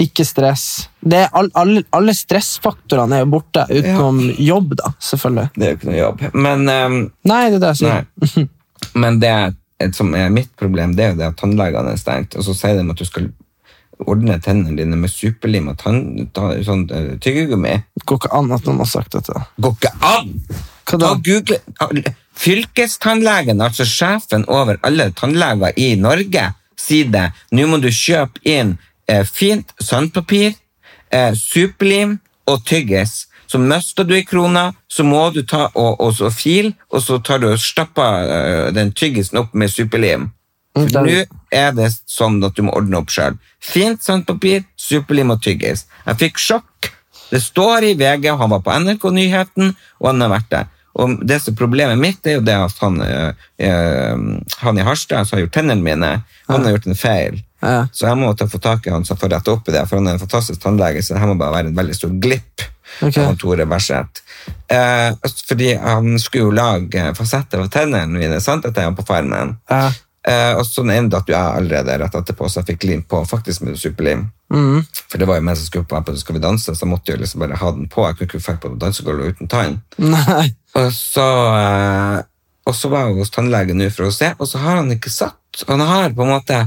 Speaker 3: Ikke stress. Det er all, alle- alle stressfaktorene er jo borte, utenom jobb, da, selvfølgelig.
Speaker 1: Det er jo ikke noe jobb. Men, eh,
Speaker 3: Nei, det er det jeg sier.
Speaker 1: nei. Men det er et, som er mitt problem, det er jo det at tannlegene er stengt, og så sier de at du skal ordne tennene dine med superlim og tann, ta, sånn eh, tyggegummi.
Speaker 3: Det går ikke an at noen har sagt dette.
Speaker 1: Går ikke an!
Speaker 3: Hva
Speaker 1: Ta
Speaker 3: da?
Speaker 1: og Google Fylkestannlegen, altså sjefen over alle tannleger i Norge, sier det. Nå må du kjøpe inn eh, fint sandpapir, eh, superlim og tyggis. Så mister du i krona, så må du ta og, og så fil, og så tar du og stapper eh, den tyggisen opp med superlim. For
Speaker 3: Mm, den-
Speaker 1: Nå er det sånn at du må ordne opp sjøl. Fint sandpapir, superlim og tyggis. Jeg fikk sjokk. Det står i VG, og han var på NRK-nyheten, og han har vært der. Og det som er Problemet mitt er jo det at han, eh, eh, han i Harstad som har gjort tennene mine, han har gjort en feil.
Speaker 3: Ja.
Speaker 1: Så jeg må ta få tak i han som får rette opp i det, for han er en fantastisk tannlege, så det her må bare være en veldig stor glipp.
Speaker 3: Ok.
Speaker 1: av han Tore Berseth. Eh, fordi han skulle jo lage eh, fasetter av tennene mine, sant, at jeg er på farmen.
Speaker 3: Ja.
Speaker 1: Eh, og så den ene datt jo jeg allerede rett etterpå, så jeg fikk lim på, faktisk med superlim.
Speaker 3: Mm.
Speaker 1: For det var jo meg som skulle på appen, så skal vi danse, så jeg måtte jo liksom bare ha den på. Jeg kunne ikke fære på dansegulvet uten tann.
Speaker 3: Nei.
Speaker 1: Og så, eh, og så var jeg hos tannlegen nå for å se, og så har han ikke satt. Han har på en måte,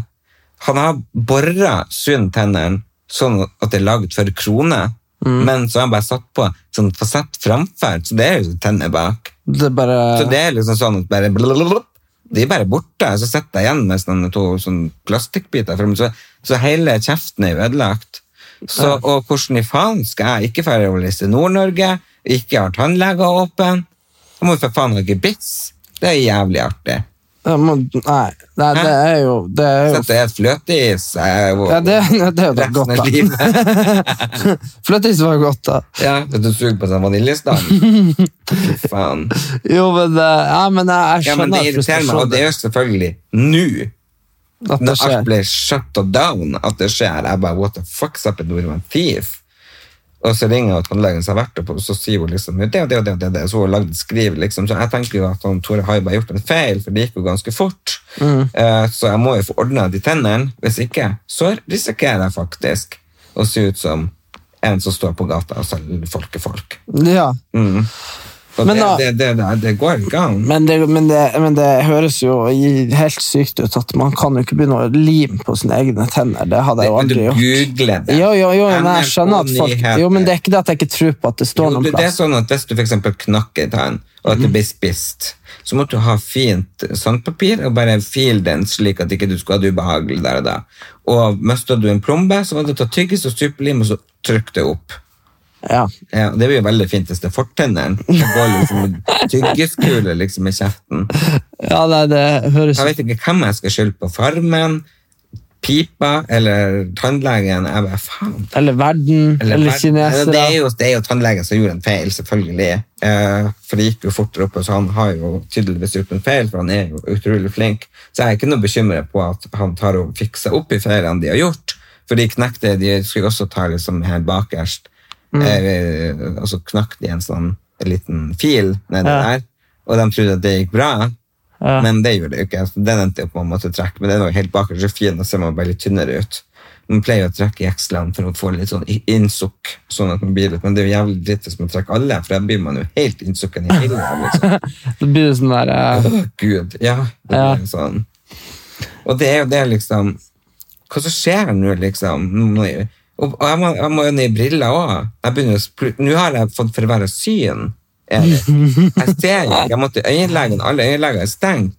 Speaker 1: han har borret sunn tennene, sånn at det er laget for kroner, men så har han bare satt på sånn fasett framfor, så det er jo tenner bak.
Speaker 3: Det er bare
Speaker 1: Så det er liksom sånn at bare blablabla, De er bare borte, så sitter jeg igjen med sånne to sånn plastikkbiter. frem, Så, så hele kjeften er jo ødelagt. Så, og hvordan i faen skal jeg ikke dra over til Nord-Norge? Ikke har tannleger åpen? Jeg må jo for faen ha gebiss. Det er jævlig artig.
Speaker 3: Jeg må, nei, nei, det er jo Det er jo,
Speaker 1: Så det er et fløteis. jeg er jo-
Speaker 3: ja, det, det er jo da
Speaker 1: resten
Speaker 3: godt,
Speaker 1: av
Speaker 3: da.
Speaker 1: livet.
Speaker 3: Fløteis var jo godt, da.
Speaker 1: Ja, at du suger på sånn vaniljestang. Fy faen.
Speaker 3: Jo, men, eh, ja, men jeg, jeg
Speaker 1: Ja, men
Speaker 3: skjønner
Speaker 1: det irriterer meg, og det er jo selvfølgelig nå.
Speaker 3: at det
Speaker 1: Når alt
Speaker 3: skjer.
Speaker 1: blir shut down, at det skjer. Jeg bare, what the fuck's up, Nora, en thief? Og så ringer jeg tannlegen som jeg har vært oppe, og så sier hun liksom, det og det og det og det, og det. så hun har lagd et skriv, liksom. Så jeg tenker jo at han, Tore har jo bare gjort en feil, for det gikk jo ganske fort.
Speaker 3: Mm.
Speaker 1: Eh, så jeg må jo få ordnet de tennene. Hvis ikke, så risikerer jeg faktisk å se ut som en som står på gata og selger folkefolk.
Speaker 3: Ja,
Speaker 1: Mm. Og
Speaker 3: Men
Speaker 1: det,
Speaker 3: da-
Speaker 1: det, det, det, det går ikke an.
Speaker 3: men det, men, det, men det høres jo i- helt sykt ut at man kan jo ikke begynne å lime på sine egne tenner. Det hadde jeg jo
Speaker 1: Men du
Speaker 3: aldri gjort.
Speaker 1: googler det.
Speaker 3: Jo, jo, jo, men jeg
Speaker 1: NRK
Speaker 3: skjønner at folk
Speaker 1: nyheter.
Speaker 3: Jo, men det er ikke det at jeg ikke tror på at det står
Speaker 1: Jo,
Speaker 3: noen
Speaker 1: du, det er
Speaker 3: plass.
Speaker 1: sånn at Hvis du for eksempel knakker i tann, og at det blir spist, så må du ha fint sandpapir og bare file den slik at ikke du skal ha det ubehagelig der og da. Og mister du en plombe, så må du ta tyggis og superlim og så trykke det opp.
Speaker 3: Ja.
Speaker 1: Ja, og det blir jo veldig fint hvis det er fortennene. Det går liksom en tyggiskule liksom i kjeften.
Speaker 3: ja, nei, det høres
Speaker 1: Jeg vet ikke hvem jeg skal skylde på. Farmen, pipa eller tannlegen. Jeg bare, faen.
Speaker 3: Eller verden, Mm. eller,
Speaker 1: verden. Det er,
Speaker 3: kinesere.
Speaker 1: jo, det er jo tannlegen som gjorde en feil, selvfølgelig. Eh, for det gikk jo fortere opp, så han har jo tydeligvis gjort en feil, for han er jo utrolig flink. Så jeg er ikke noe bekymret på at han tar og fikser opp i feilene de har gjort. For de knekte, de skulle også ta liksom her bakerst,
Speaker 3: Mm.
Speaker 1: eh, og så knakk de en sånn liten fil nedi
Speaker 3: Ja.
Speaker 1: der, og de trodde at det gikk bra.
Speaker 3: Ja.
Speaker 1: Men det gjorde det jo ikke. så Den endte jo på en måte trekk, men den var jo helt bakerst så fin, og ser man bare litt tynnere ut. Man pleier jo å trekke i jekslene for å få litt sånn i- innsukk, sånn at man blir litt, men det er jo jævlig dritt hvis man trekker alle, for da blir man jo helt innsukken i hele. Liksom.
Speaker 3: Det blir sånn der eh,
Speaker 1: Åh, Gud, ja. Det blir
Speaker 3: Ja.
Speaker 1: jo sånn. Og det er jo det liksom, hva som skjer nå liksom? Nå må jeg- Og og jeg må, jeg må jo ned i briller også. Jeg begynner å spl- Nå har jeg fått forverret syn. Erik. Jeg ser jo ikke, jeg måtte øyelegen, alle øyeleger er stengt.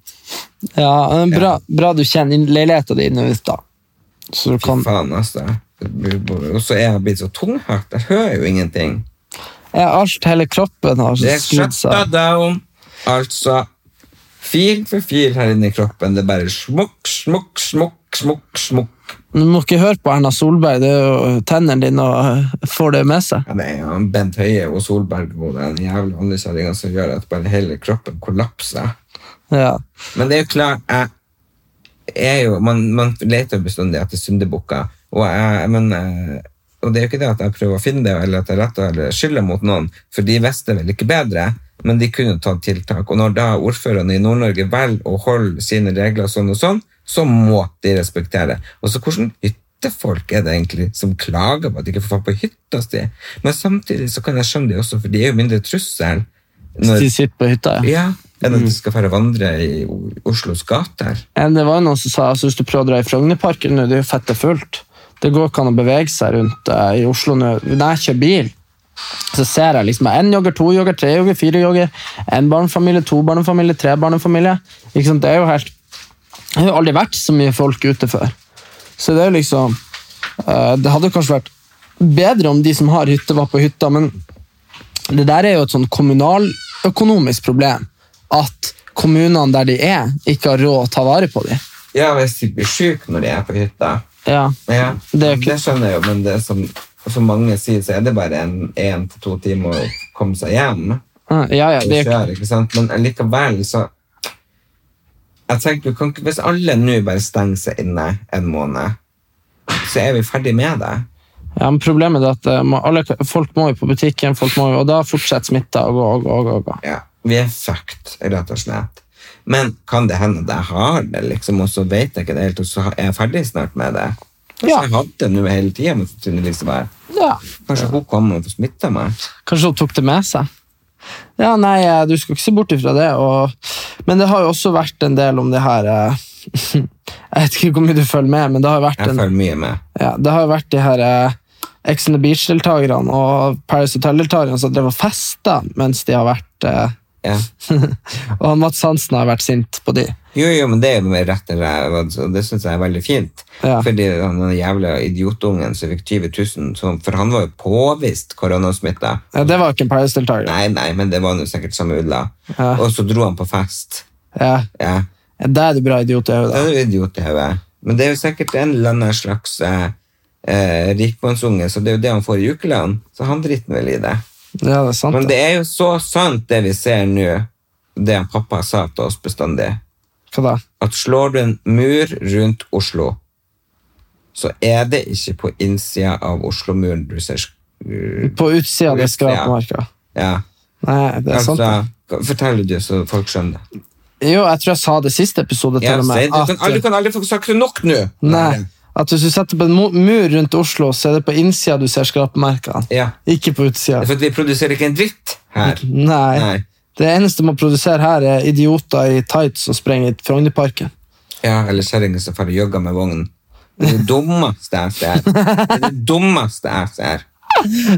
Speaker 3: Ja, men bra, bra du kjenner inn- leiligheten din nå, da. Så du kan
Speaker 1: Fy faen, altså. Og så er jeg blitt så tunghørt. Jeg hører jo ingenting.
Speaker 3: Ja, alt, hele kroppen har
Speaker 1: Det er
Speaker 3: skrudd
Speaker 1: shutta
Speaker 3: seg.
Speaker 1: down. Altså Fil for fil her inne i kroppen. Det er bare smukk, smukk, smukk, smukk. smukk.
Speaker 3: Du må ikke høre på Erna Solberg, det er jo tennene dine og eh, får det med seg.
Speaker 1: Ja, det er jo Bent Høie og Solberg og den jævla oljekjerringa som gjør at bare hele kroppen kollapser.
Speaker 3: Ja.
Speaker 1: Men det er jo klart jeg er jo, man, man leter jo bestandig etter syndebukker. Og, jeg, men, eh, og det er jo ikke det at jeg prøver å finne det, eller at jeg retter eller skylder mot noen, for de visste vel ikke bedre, men de kunne tatt tiltak. Og når da ordførerne i Nord-Norge velger å holde sine regler sånn og sånn, så må de respektere. Og så hvordan hyttefolk er det egentlig som klager på at de ikke får dra på hytta si? Men samtidig så kan jeg skjønne de også, for de er jo mindre trussel.
Speaker 3: Så
Speaker 1: Når,
Speaker 3: de sitter på hytta, ja.
Speaker 1: ja, enn at de skal fære og vandre i O- Oslos gater.
Speaker 3: Eh, Det var jo noen som sa altså, hvis du prøver å dra i Frognerparken nå, det er jo fette fullt. Det går ikke an å bevege seg rundt eh, i Oslo nå. Når jeg kjører bil, så ser jeg liksom én jogger, to jogger, tre jogger, fire jogger. Én barnefamilie, to barnefamilie, tre barnefamilie. Ikke sant? Det er jo helt Det har jo aldri vært så mye folk ute før. Så det er jo liksom eh, Det hadde jo kanskje vært bedre om de som har hytte, var på hytta, men det der er jo et sånn kommunaløkonomisk problem. At kommunene der de er, ikke har råd å ta vare på dem.
Speaker 1: Ja, hvis de blir syke når de er på hytta.
Speaker 3: Ja.
Speaker 1: Ja,
Speaker 3: Det
Speaker 1: det,
Speaker 3: er jo ikke-
Speaker 1: skjønner jeg jo, men det som for mange sier, så er det bare en, en til to timer å komme seg hjem.
Speaker 3: Ja, ja,
Speaker 1: og
Speaker 3: det er jo
Speaker 1: kjøre, ikke sant? Men likevel så jeg tenker, du kan ikke, Hvis alle nå bare stenger seg inne en måned, så er vi ferdig med det.
Speaker 3: Ja, men problemet er at eh, må- alle, folk må jo på butikken, folk må jo, og da fortsetter smitta å gå og gå. Og gå, og gå.
Speaker 1: Ja, Vi er fucked, rett og slett. Men kan det hende at jeg har det, liksom, og så vet jeg ikke det helt, og så er jeg ferdig snart med det? Kanskje
Speaker 3: Ja.
Speaker 1: jeg hadde det nå hele tida, men sannsynligvis bare
Speaker 3: Ja.
Speaker 1: Kanskje hun kom og smitta meg?
Speaker 3: Kanskje hun tok det med seg. Ja, nei, eh, du skal ikke se bort ifra det. Og, men det har jo også vært en del om det her eh, Jeg vet ikke hvor mye du følger med, men det har jo vært
Speaker 1: Jeg
Speaker 3: en
Speaker 1: følger mye med.
Speaker 3: Ja, det har jo vært de her eh, Ex on the Beach-deltakerne og Paris Hotel-deltakerne som drev og festa mens de har vært eh,
Speaker 1: Ja.
Speaker 3: Og han Mats Hansen har vært sint på de.
Speaker 1: Jo, jo, men det er jo med rett og slett, og det syns jeg er veldig fint.
Speaker 3: Ja.
Speaker 1: Fordi han den jævla idiotungen som fikk 20 000, så- for han var jo påvist koronasmitta.
Speaker 3: Ja, det var jo ikke en Paris-deltaker.
Speaker 1: Nei, nei, men det var nå sikkert samme ulla.
Speaker 3: Ja.
Speaker 1: Og så dro han på fest.
Speaker 3: Ja,
Speaker 1: Ja.
Speaker 3: det er det bra idiot er jo
Speaker 1: Det
Speaker 3: da.
Speaker 1: er jo idiot i hodet. Men det er jo sikkert en eller annen slags eh, eh, rikmannsunge, så det er jo det han får i ukelønn. Så han driter vel i det.
Speaker 3: Ja, det er sant.
Speaker 1: Men
Speaker 3: det.
Speaker 1: det er jo så sant, det vi ser nå, det han pappa sa til oss bestandig.
Speaker 3: Hva da?
Speaker 1: at slår du en mur rundt Oslo, så er det ikke på innsida av Oslo-muren du ser sk-
Speaker 3: På utsida av det
Speaker 1: Ja.
Speaker 3: skrapmarka.
Speaker 1: Ja,
Speaker 3: Nei, det er sant. det.
Speaker 1: altså, fortell det så folk skjønner det.
Speaker 3: Jo, jeg tror jeg sa det i siste episode til
Speaker 1: Ja,
Speaker 3: og
Speaker 1: si det.
Speaker 3: med.
Speaker 1: du, kan, aldri- du
Speaker 3: At, eh,
Speaker 1: kan aldri få sagt det nok nå!
Speaker 3: nei, at hvis du setter på en mu- mur rundt Oslo, så er det på innsida du ser skrapmerkene.
Speaker 1: Ja,
Speaker 3: Ikke på utsida.
Speaker 1: det er for at vi produserer ikke en dritt her.
Speaker 3: Nei.
Speaker 1: Nei.
Speaker 3: Det eneste man produserer her, er idioter i tights som sprenger i Frognerparken.
Speaker 1: Ja, eller kjerringa som drar og jogger med vognen. Det er det dummeste jeg ser. Det er det dummeste jeg ser.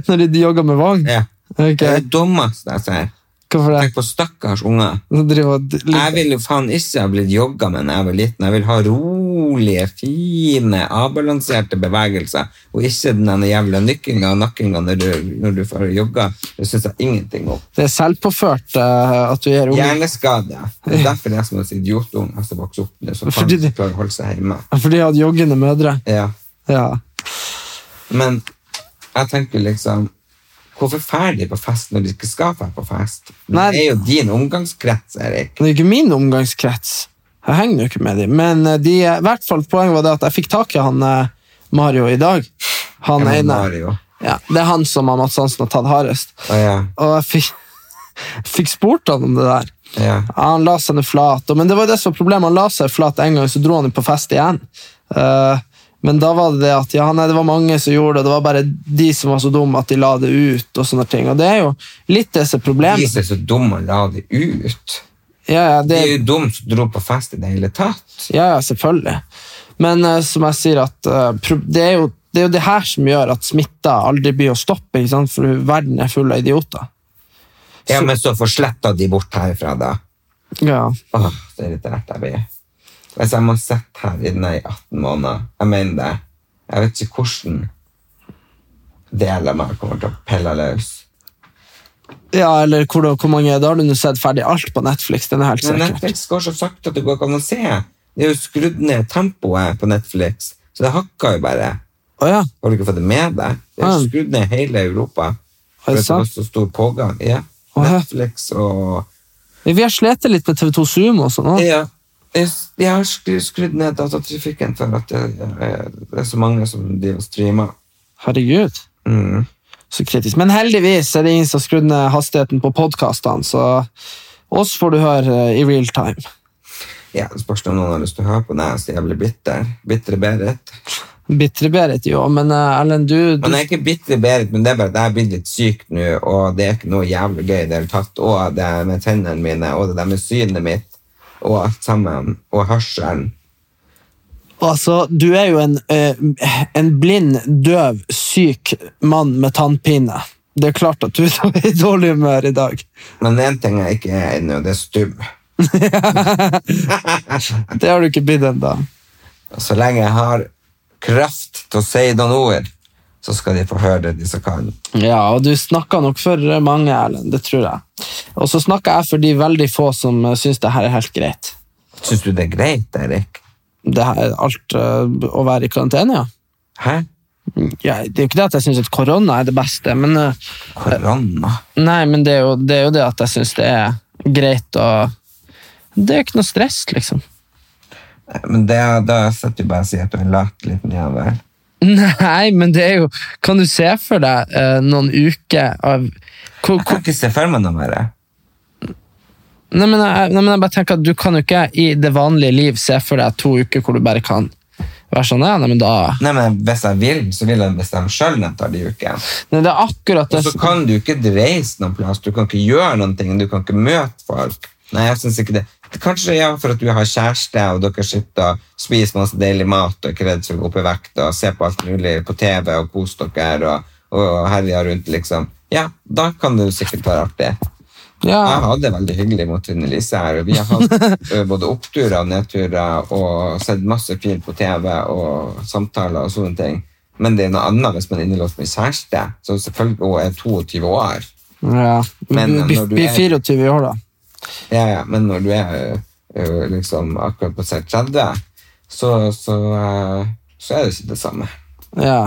Speaker 3: Når de jogger med vogn.
Speaker 1: Ja.
Speaker 3: Ok,
Speaker 1: Det er det dummeste jeg ser.
Speaker 3: Hvorfor
Speaker 1: Tenk
Speaker 3: det?
Speaker 1: på stakkars unger.
Speaker 3: Nå driver og d-
Speaker 1: Jeg vil jo faen ikke ha blitt jogga med da jeg var liten. Jeg vil ha rolige, fine, avbalanserte bevegelser, og ikke den der jævla nykkinga og nakkinga når du, når du får jogga. Det syns jeg ingenting om.
Speaker 3: Det er selvpåført eh, at du gir unge
Speaker 1: Hjerneskade. Det er derfor det er som en idiotung som vokser opp nå, som faen
Speaker 3: Fordi
Speaker 1: ikke
Speaker 3: de-
Speaker 1: klarer å holde seg hjemme.
Speaker 3: For de hadde joggende mødre.
Speaker 1: Ja.
Speaker 3: Ja.
Speaker 1: Men jeg tenker liksom Hvorfor drar de på fest når de ikke skal dra på fest? Det
Speaker 3: Nei.
Speaker 1: er jo din omgangskrets, Erik.
Speaker 3: Det er jo ikke min omgangskrets. Jeg henger jo ikke med dem. Men eh, de, i hvert fall poenget var det at jeg fikk tak i han eh, Mario i dag.
Speaker 1: Jeg
Speaker 3: Han
Speaker 1: må
Speaker 3: ene.
Speaker 1: bare jo.
Speaker 3: Ja, det er han som han Mads Hansen har tatt hardest.
Speaker 1: Å ja.
Speaker 3: Og jeg fikk, fikk spurt han om det der.
Speaker 1: ja.
Speaker 3: Ja, han la seg ned flat, og- men det var jo det som var problemet. Han la seg flat en gang, så dro han jo på fest igjen. Eh, men da var det det at ja, nei, det var mange som gjorde det, og det var bare de som var så dumme at de la det ut. Og sånne ting, og det er jo litt det som er
Speaker 1: De
Speaker 3: problemet.
Speaker 1: som er så dumme å la det ut.
Speaker 3: Ja, ja,
Speaker 1: Det er
Speaker 3: det,
Speaker 1: jo dumt som dro på fest i det hele tatt.
Speaker 3: ja, ja selvfølgelig. Men eh, som jeg sier, at eh, pro det, er jo, det er jo det her som gjør at smitta aldri blir å stoppe, ikke sant? for verden er full av idioter.
Speaker 1: Ja,
Speaker 3: Så-
Speaker 1: men så forsletta de bort herfra, da.
Speaker 3: Ja,
Speaker 1: Åh, det er irritert jeg blir. Hvis jeg må sitte her inne i 18 måneder, jeg mener det. Jeg vet ikke hvordan del av meg kommer til å pelle løs.
Speaker 3: ja eller hvor, hvor mange Da har du nå sett ferdig alt på Netflix. den er helt
Speaker 1: Men
Speaker 3: sikkert.
Speaker 1: Netflix går så sakte at det går ikke an å se. Det er jo skrudd ned tempoet på Netflix, så det hakker jo bare.
Speaker 3: Å ja,
Speaker 1: Har du ikke fått det med deg? Det er
Speaker 3: Ah.
Speaker 1: jo skrudd ned hele Europa.
Speaker 3: er
Speaker 1: For
Speaker 3: det
Speaker 1: at det var
Speaker 3: sant?
Speaker 1: så stor pågang. Ja.
Speaker 3: Å, ja.
Speaker 1: Netflix og
Speaker 3: Vi har slitt litt med TV2 Sumo og sånn. også.
Speaker 1: Ja. Jeg, jeg har skru- skrudd ned datatrafikken for at det, det er så mange som driver og streamer.
Speaker 3: Herregud,
Speaker 1: Mm.
Speaker 3: så kritisk. Men heldigvis er det ingen som har skrudd ned hastigheten på podkastene, så oss får du høre eh, i real time.
Speaker 1: Ja, det spørs om noen har lyst til å høre på når jeg er så jævlig bitter. Bitre Berit.
Speaker 3: Bitre-Berit, jo, men eh, Erlend, du,
Speaker 1: Men
Speaker 3: du
Speaker 1: jeg er ikke bitre Berit, men det er bare at jeg er blitt litt syk nå, og det er ikke noe jævlig gøy i det hele tatt. Og det er med tennene mine, og det der med synet mitt, og alt sammen, og hørselen.
Speaker 3: Altså, du er jo en, eh, en blind, døv, syk mann med tannpine. Det er klart at du er i dårlig humør i dag.
Speaker 1: Men én ting jeg ikke er ennå, det er stubb.
Speaker 3: Det har du ikke blitt ennå.
Speaker 1: Og så lenge jeg har kraft til å si noen ord, så skal de få høre det, de som kan.
Speaker 3: Ja, og du snakka nok for mange, Erlend. Det tror jeg. Og så snakka jeg for de veldig få som eh, syns det her er helt greit.
Speaker 1: Syns du det er greit, Erik?
Speaker 3: Det her, alt eh, å være i karantene, ja.
Speaker 1: Hæ? Mm.
Speaker 3: ja. Det er jo ikke det at jeg syns at korona er det beste, men eh,
Speaker 1: Korona?
Speaker 3: Nei, men det er jo det, er jo det at jeg syns det er greit å Det er ikke noe stress, liksom.
Speaker 1: Nei, Men det, da sitter du bare og sier at du er lat liten jævel.
Speaker 3: Nei, men det er jo Kan du se for deg eh, noen uker av hvor,
Speaker 1: Jeg kan
Speaker 3: hvor,
Speaker 1: ikke se for meg noe mer.
Speaker 3: nei, men jeg, nei, men jeg bare tenker at Du kan jo ikke i det vanlige liv se for deg to uker hvor du bare kan være sånn ja, nei, men da
Speaker 1: Nei, men Hvis jeg vil, så vil jeg bestemme sjøl når jeg tar de ukene.
Speaker 3: nei, Det er akkurat
Speaker 1: Og
Speaker 3: det
Speaker 1: så kan du ikke reise noen plass, du kan ikke gjøre noen ting, du kan ikke møte folk. Nei, jeg synes ikke det. Kanskje ja, for at du har kjæreste, og dere sitter og spiser masse deilig mat og er ikke redd for å gå opp i vekt, og ser på alt mulig på TV og koser dere og, og herjer rundt, liksom. Ja, da kan det jo sikkert være artig. Jeg
Speaker 3: ja,
Speaker 1: hadde det veldig hyggelig mot Trine Lise her, og vi har hatt ø, både oppturer og nedturer og sett masse fint på TV og samtaler og sånne ting. Men det er noe annet hvis man er innelåst med kjæreste, som selvfølgelig også er 22 år.
Speaker 3: ja.
Speaker 1: Men når
Speaker 3: Vi
Speaker 1: du
Speaker 3: blir
Speaker 1: er-
Speaker 3: 24 i år, da.
Speaker 1: Ja, ja, men når du er ø, ø, liksom akkurat på seg 30, så, så, ø, så er det ikke det samme.
Speaker 3: Ja.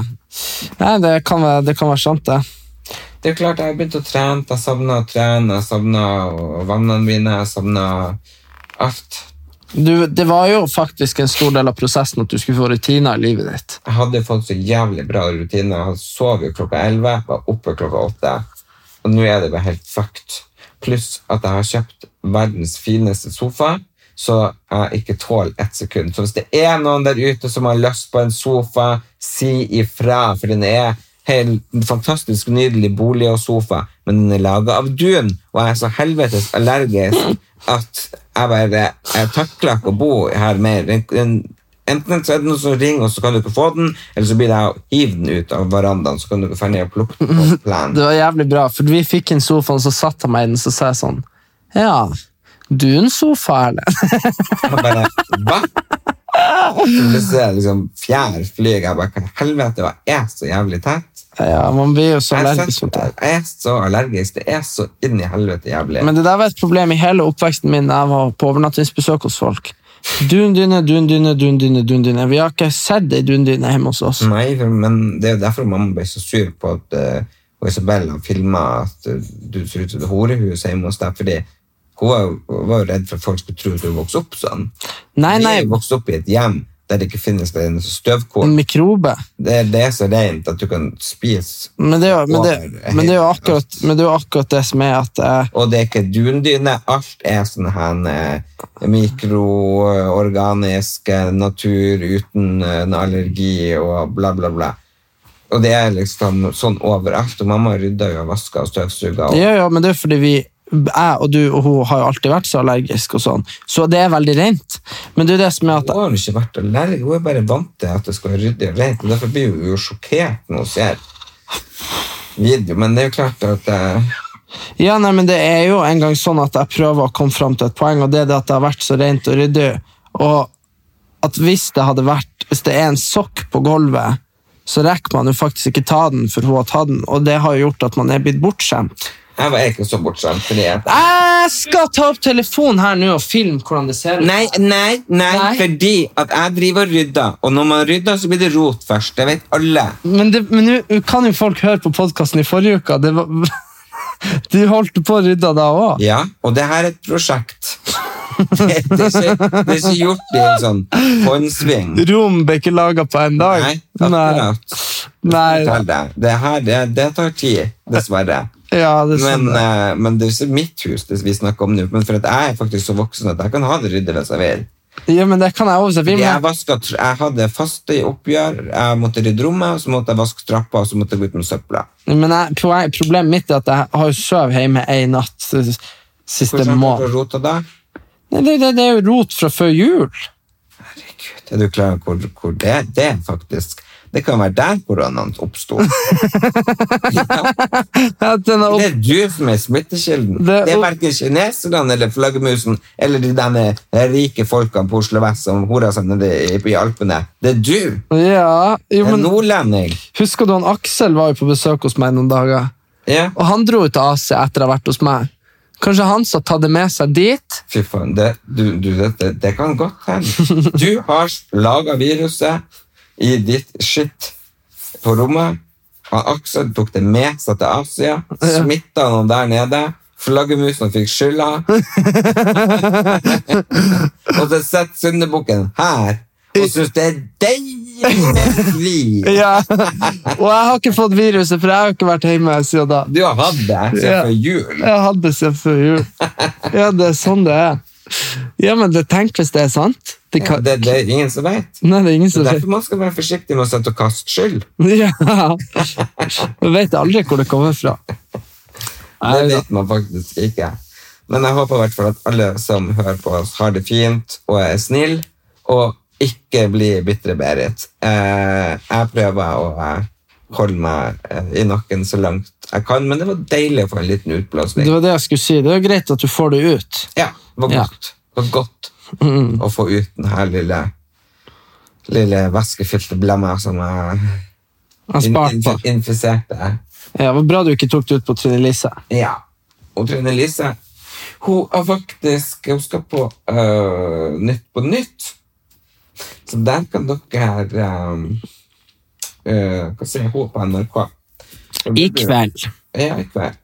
Speaker 3: Nei, det kan være, det kan være sant, det.
Speaker 1: Det er jo klart, jeg har begynt å trene, jeg savner å trene, jeg savner å- vannene mine, jeg savner alt.
Speaker 3: Du, det var jo faktisk en stor del av prosessen at du skulle få rutiner i livet ditt.
Speaker 1: Jeg hadde fått så jævlig bra rutiner. Jeg sov jo klokka 11, var oppe klokka 8. Og nå er det bare helt fucked. Pluss at jeg har kjøpt verdens fineste sofa, så jeg ikke tåler ett sekund. Så hvis det er noen der ute som har lyst på en sofa, si ifra, for den er helt fantastisk nydelig bolig og sofa, men den er laget av dun, og jeg er så helvetes allergisk at jeg bare jeg takler ikke å bo her mer. Den, den, Enten så er det noen som ringer, og så kan du ikke få den, eller så blir det å hive den ut av verandaen, så kan du ikke få ned og plukke den på plan.
Speaker 3: Det var jævlig bra, for vi fikk en sofa, og så satt han meg i den, så sa jeg sånn Ja, du er en sofa, Erlend.
Speaker 1: Og bare, hva? Så plutselig er det liksom fjær flyg, jeg bare, hva i helvete, og jeg er så jævlig tett.
Speaker 3: ja, man blir jo så
Speaker 1: Jeg er
Speaker 3: allergisk
Speaker 1: så,
Speaker 3: mot det.
Speaker 1: jeg er så allergisk, det er så inn i helvete jævlig.
Speaker 3: Men det der var et problem i hele oppveksten min da jeg var på overnattingsbesøk hos folk. Dundyne, dundyne, dundyne, dundyne. Vi har ikke sett ei dundyne hjemme hos oss.
Speaker 1: Nei, for- men det er jo derfor mamma ble så sur på at eh, og Isabel har filma at eh, du ser ut som et horehus hjemme hos deg, fordi hun var jo- hun var jo redd for at folk skulle tro at hun vokste opp sånn.
Speaker 3: Nei,
Speaker 1: Vi
Speaker 3: nei,
Speaker 1: er jo vokst opp i et hjem der det ikke finnes det eneste støvkorn.
Speaker 3: en mikrobe.
Speaker 1: Det, det er så rent at du kan spise,
Speaker 3: Men det er jo, men det, men det er jo, akkurat, men det, er jo akkurat det som er at eh,
Speaker 1: og det er ikke dundyne. Alt er sånn her eh, mikroorganisk eh, natur uten eh, en allergi og bla, bla, bla. Og det er liksom sånn overalt. Og mamma rydda jo og vaska og støvsuga. Og,
Speaker 3: Ja, ja, men det er fordi vi jeg og du og hun har jo alltid vært så allergisk og sånn, så det er veldig rent. Men det er jo det som er at
Speaker 1: Hun har jo ikke vært allergisk, hun er bare vant til at det skal være ryddig og rent. og Derfor blir hun jo sjokkert når hun ser video. Men det er jo klart at eh,
Speaker 3: Ja, nei, men det er jo en gang sånn at jeg prøver å komme fram til et poeng, og det er det at det har vært så rent og ryddig, og at hvis det hadde vært, hvis det er en sokk på gulvet, så rekker man jo faktisk ikke ta den, for hun har tatt den, og det har jo gjort at man er blitt bortskjemt.
Speaker 1: Jeg var ikke så bortskjemt fordi at
Speaker 3: Jeg skal ta opp telefonen her nå og filme hvordan det ser ut.
Speaker 1: Nei, nei, nei,
Speaker 3: Nei.
Speaker 1: fordi at jeg driver og rydder, og når man rydder, så blir det rot først. Det vet alle.
Speaker 3: Men det- men nå kan jo folk høre på podkasten i forrige uke. Det var, du holdt på å rydde da òg.
Speaker 1: Ja, og det her er et prosjekt. Det, det, er, ikke, det er ikke gjort i en sånn håndsving.
Speaker 3: Rom ble ikke laga på en dag.
Speaker 1: Nei, akkurat.
Speaker 3: Nei.
Speaker 1: Fortell deg. Det her, det, det tar tid, dessverre.
Speaker 3: Ja, det er sånn
Speaker 1: Men,
Speaker 3: det er.
Speaker 1: eh, men det er ikke mitt hus det vi snakker om nå, men for at jeg er faktisk så voksen at jeg kan ha det ryddig hvis jeg vil.
Speaker 3: Ja, men det kan jeg også, så vi
Speaker 1: Fordi
Speaker 3: må
Speaker 1: Jeg, vasket, jeg hadde faste oppgjør, jeg måtte rydde rommet, og så måtte jeg vaske trappa, og så måtte jeg gå ut med søpla.
Speaker 3: Men jeg, poe- problemet mitt er at jeg har jo søv hjemme en natt eh, siste
Speaker 1: Hvordan har du
Speaker 3: måned.
Speaker 1: rota da?
Speaker 3: Nei, Det, det, det er jo rot fra før jul.
Speaker 1: Herregud, er du klar over hvor, hvor det, det er faktisk? Det kan være der koronaen oppstod.
Speaker 3: At den er
Speaker 1: Det
Speaker 3: opp...
Speaker 1: er du som er smittekilden. Det,
Speaker 3: Det-
Speaker 1: er hverken kineserne eller flaggermusen eller de derne rike folkene på Oslo Vest som horer seg nede i- i Alpene. Det er du!
Speaker 3: Ja, jo,
Speaker 1: En
Speaker 3: men
Speaker 1: nordlending!
Speaker 3: husker du han Aksel var jo på besøk hos meg noen dager?
Speaker 1: Ja.
Speaker 3: Og han dro jo til Asia etter å ha vært hos meg. Kanskje han som tatt det med seg dit?
Speaker 1: Fy faen, det, du, du, det, det, det kan godt hende. Du har laga viruset i ditt skitt på rommet. Han Aksel tok det med seg til Asia, smitta noen der nede. Flaggermusene fikk skylda. og så sitter syndebukken her og syns det er deilig med svin.
Speaker 3: Ja. Og jeg har ikke fått viruset, for jeg har jo ikke vært hjemme siden da.
Speaker 1: Du har hatt det siden
Speaker 3: Ja.
Speaker 1: før jul.
Speaker 3: Jeg hadde det siden før jul. Ja, det er sånn det er. Ja, men det tenk hvis det er sant. Det kan...
Speaker 1: Det, det er ingen som vet.
Speaker 3: Nei, det er ingen
Speaker 1: Det
Speaker 3: som
Speaker 1: er
Speaker 3: vet.
Speaker 1: derfor man skal være forsiktig med å sette og kaste skyld.
Speaker 3: Ja. Man vet aldri hvor det kommer fra.
Speaker 1: Det vet man faktisk ikke. Men jeg håper i hvert fall at alle som hører på oss, har det fint og er snill, og ikke blir bitre Berit. Eh, jeg prøver å eh, holde meg eh, i nakken så langt jeg kan, men det var deilig å få en liten
Speaker 3: Det
Speaker 1: utblåsning.
Speaker 3: var det jeg skulle si. Det er jo greit at du får det ut. Mm.
Speaker 1: Ja, det var
Speaker 3: Ja.
Speaker 1: godt. Det var godt å få ut den her lille, lille væskefylte blemma som jeg
Speaker 3: Jeg
Speaker 1: in-
Speaker 3: sparte på.
Speaker 1: inf- infiserte.
Speaker 3: Ja, det var bra du ikke tok det ut på Trine Lise.
Speaker 1: Ja. Og Trine Lise hun er faktisk Hun skal på øh, Nytt på Nytt. Så der kan dere um, øh, Hva sier jeg? Hun er på NRK. Så
Speaker 3: I
Speaker 1: det blir-
Speaker 3: kveld
Speaker 1: Ja, i kveld.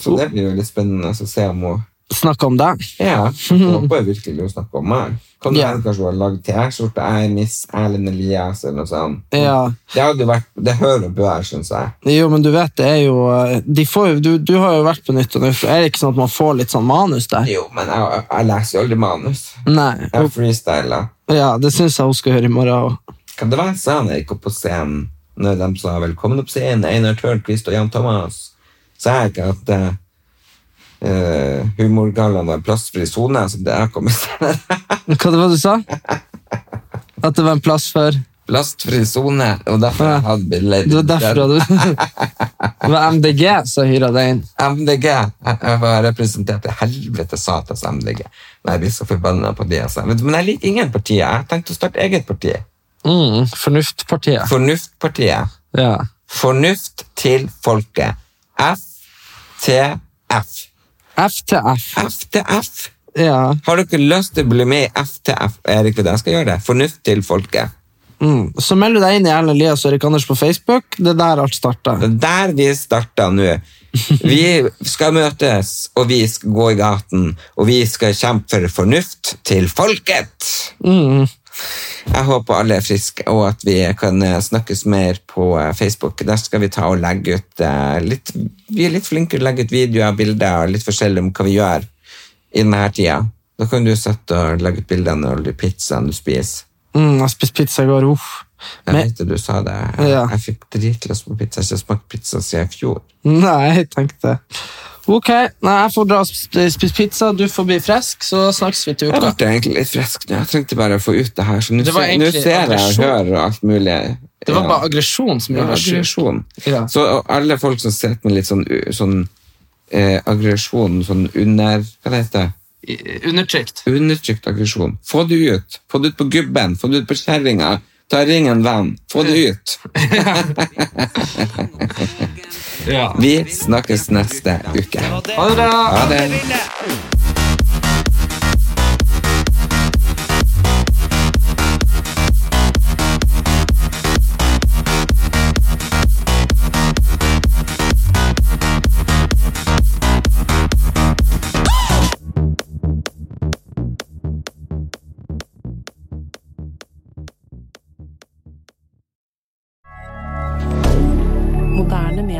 Speaker 1: Så det blir jo litt spennende å se om hun
Speaker 3: snakka om deg.
Speaker 1: Ja, hun håper virkelig å snakke om meg. Kan det
Speaker 3: Ja.
Speaker 1: hende kanskje hun har lagd T-skjorte? Jeg er Miss Erlend Elias, eller noe sånt.
Speaker 3: Ja.
Speaker 1: Det hadde jo vært Det hører og bør, syns jeg.
Speaker 3: Jo, men du vet, det er jo eh, de får, jo- du, du har jo vært på Nytt og Nytt, og er det ikke sånn at man får litt sånn manus der?
Speaker 1: Jo, men jeg, jeg leser jo aldri manus.
Speaker 3: Nei.
Speaker 1: Jeg freestyler.
Speaker 3: Ja, det syns jeg hun skal gjøre i morgen òg.
Speaker 1: Kan det være sånn jeg gikk opp på scenen når de sa 'velkommen opp scenen', Einar Tørnquist og Jan Thomas? Sa jeg ikke at eh, eh, humorgallaen var en plastfri sone? Så det jeg kom i stedet.
Speaker 3: Hva det var det du sa? At det var en plass for
Speaker 1: Plastfri sone, og derfor jeg hadde bilder.
Speaker 3: Det var derfra du Det var MDG som hyra deg inn.
Speaker 1: MDG. Jeg jeg var representert til helvete satans MDG. Nei, jeg blir så forbanna på de. Altså. Men jeg liker ingen partier. Jeg tenkte å starte eget parti.
Speaker 3: Mm, Fornuftpartiet.
Speaker 1: Fornuftpartiet.
Speaker 3: Ja.
Speaker 1: Fornuft til folket. FTF.
Speaker 3: FTF.
Speaker 1: FTF.
Speaker 3: Ja.
Speaker 1: Har dere lyst til å bli med i FTF? Erik, det jeg skal gjøre det. Fornuft til folket.
Speaker 3: Mm. Så meld deg inn i Erlend Elias og Erik Anders på Facebook. Det er der alt starta.
Speaker 1: Det er der vi starter nå. Vi skal møtes, og vi skal gå i gaten, og vi skal kjempe for fornuft til folket.
Speaker 3: Mm.
Speaker 1: Jeg håper alle er friske, og at vi kan eh, snakkes mer på eh, Facebook. Der skal vi ta og legge ut eh, litt Vi er litt flinke til å legge ut videoer, bilder og litt forskjellig om hva vi gjør i denne her tida. Da kan du sitte og legge ut bilder når du pizzaen du spiser.
Speaker 3: Mm, jeg spiste pizza i går. Uff.
Speaker 1: Jeg
Speaker 3: Men,
Speaker 1: vet at du sa det.
Speaker 3: Ja.
Speaker 1: Jeg fikk dritlyst på pizza. Jeg har ikke smakt pizza siden i fjor.
Speaker 3: nei, jeg tenkte Ok, nei, jeg får dra og sp- spise pizza, du får bli frisk, så snakkes vi til
Speaker 1: Jeg
Speaker 3: uka.
Speaker 1: ble egentlig litt frisk nå. Jeg trengte bare å få ut det her. Så nå
Speaker 3: Det var
Speaker 1: ser, nå
Speaker 3: egentlig
Speaker 1: ser jeg og
Speaker 3: aggresjon.
Speaker 1: hører og alt mulig.
Speaker 3: Det var
Speaker 1: Ja.
Speaker 3: bare aggresjon som
Speaker 1: Ja,
Speaker 3: gjorde meg syk.
Speaker 1: aggresjon.
Speaker 3: Ja.
Speaker 1: Så og alle folk som sitter med litt sånn, u- sånn eh, aggresjon, sånn under Hva det heter det?
Speaker 3: I- Undertrykt.
Speaker 1: Undertrykt aggresjon. Få det ut! Få det ut på gubben, få det ut på kjerringa. Ta ring en venn. Få det ut!
Speaker 3: Ja.
Speaker 1: Vi snakkes neste uke.
Speaker 3: Ha det bra!
Speaker 1: Ha det!
Speaker 2: vinne.
Speaker 4: Moderne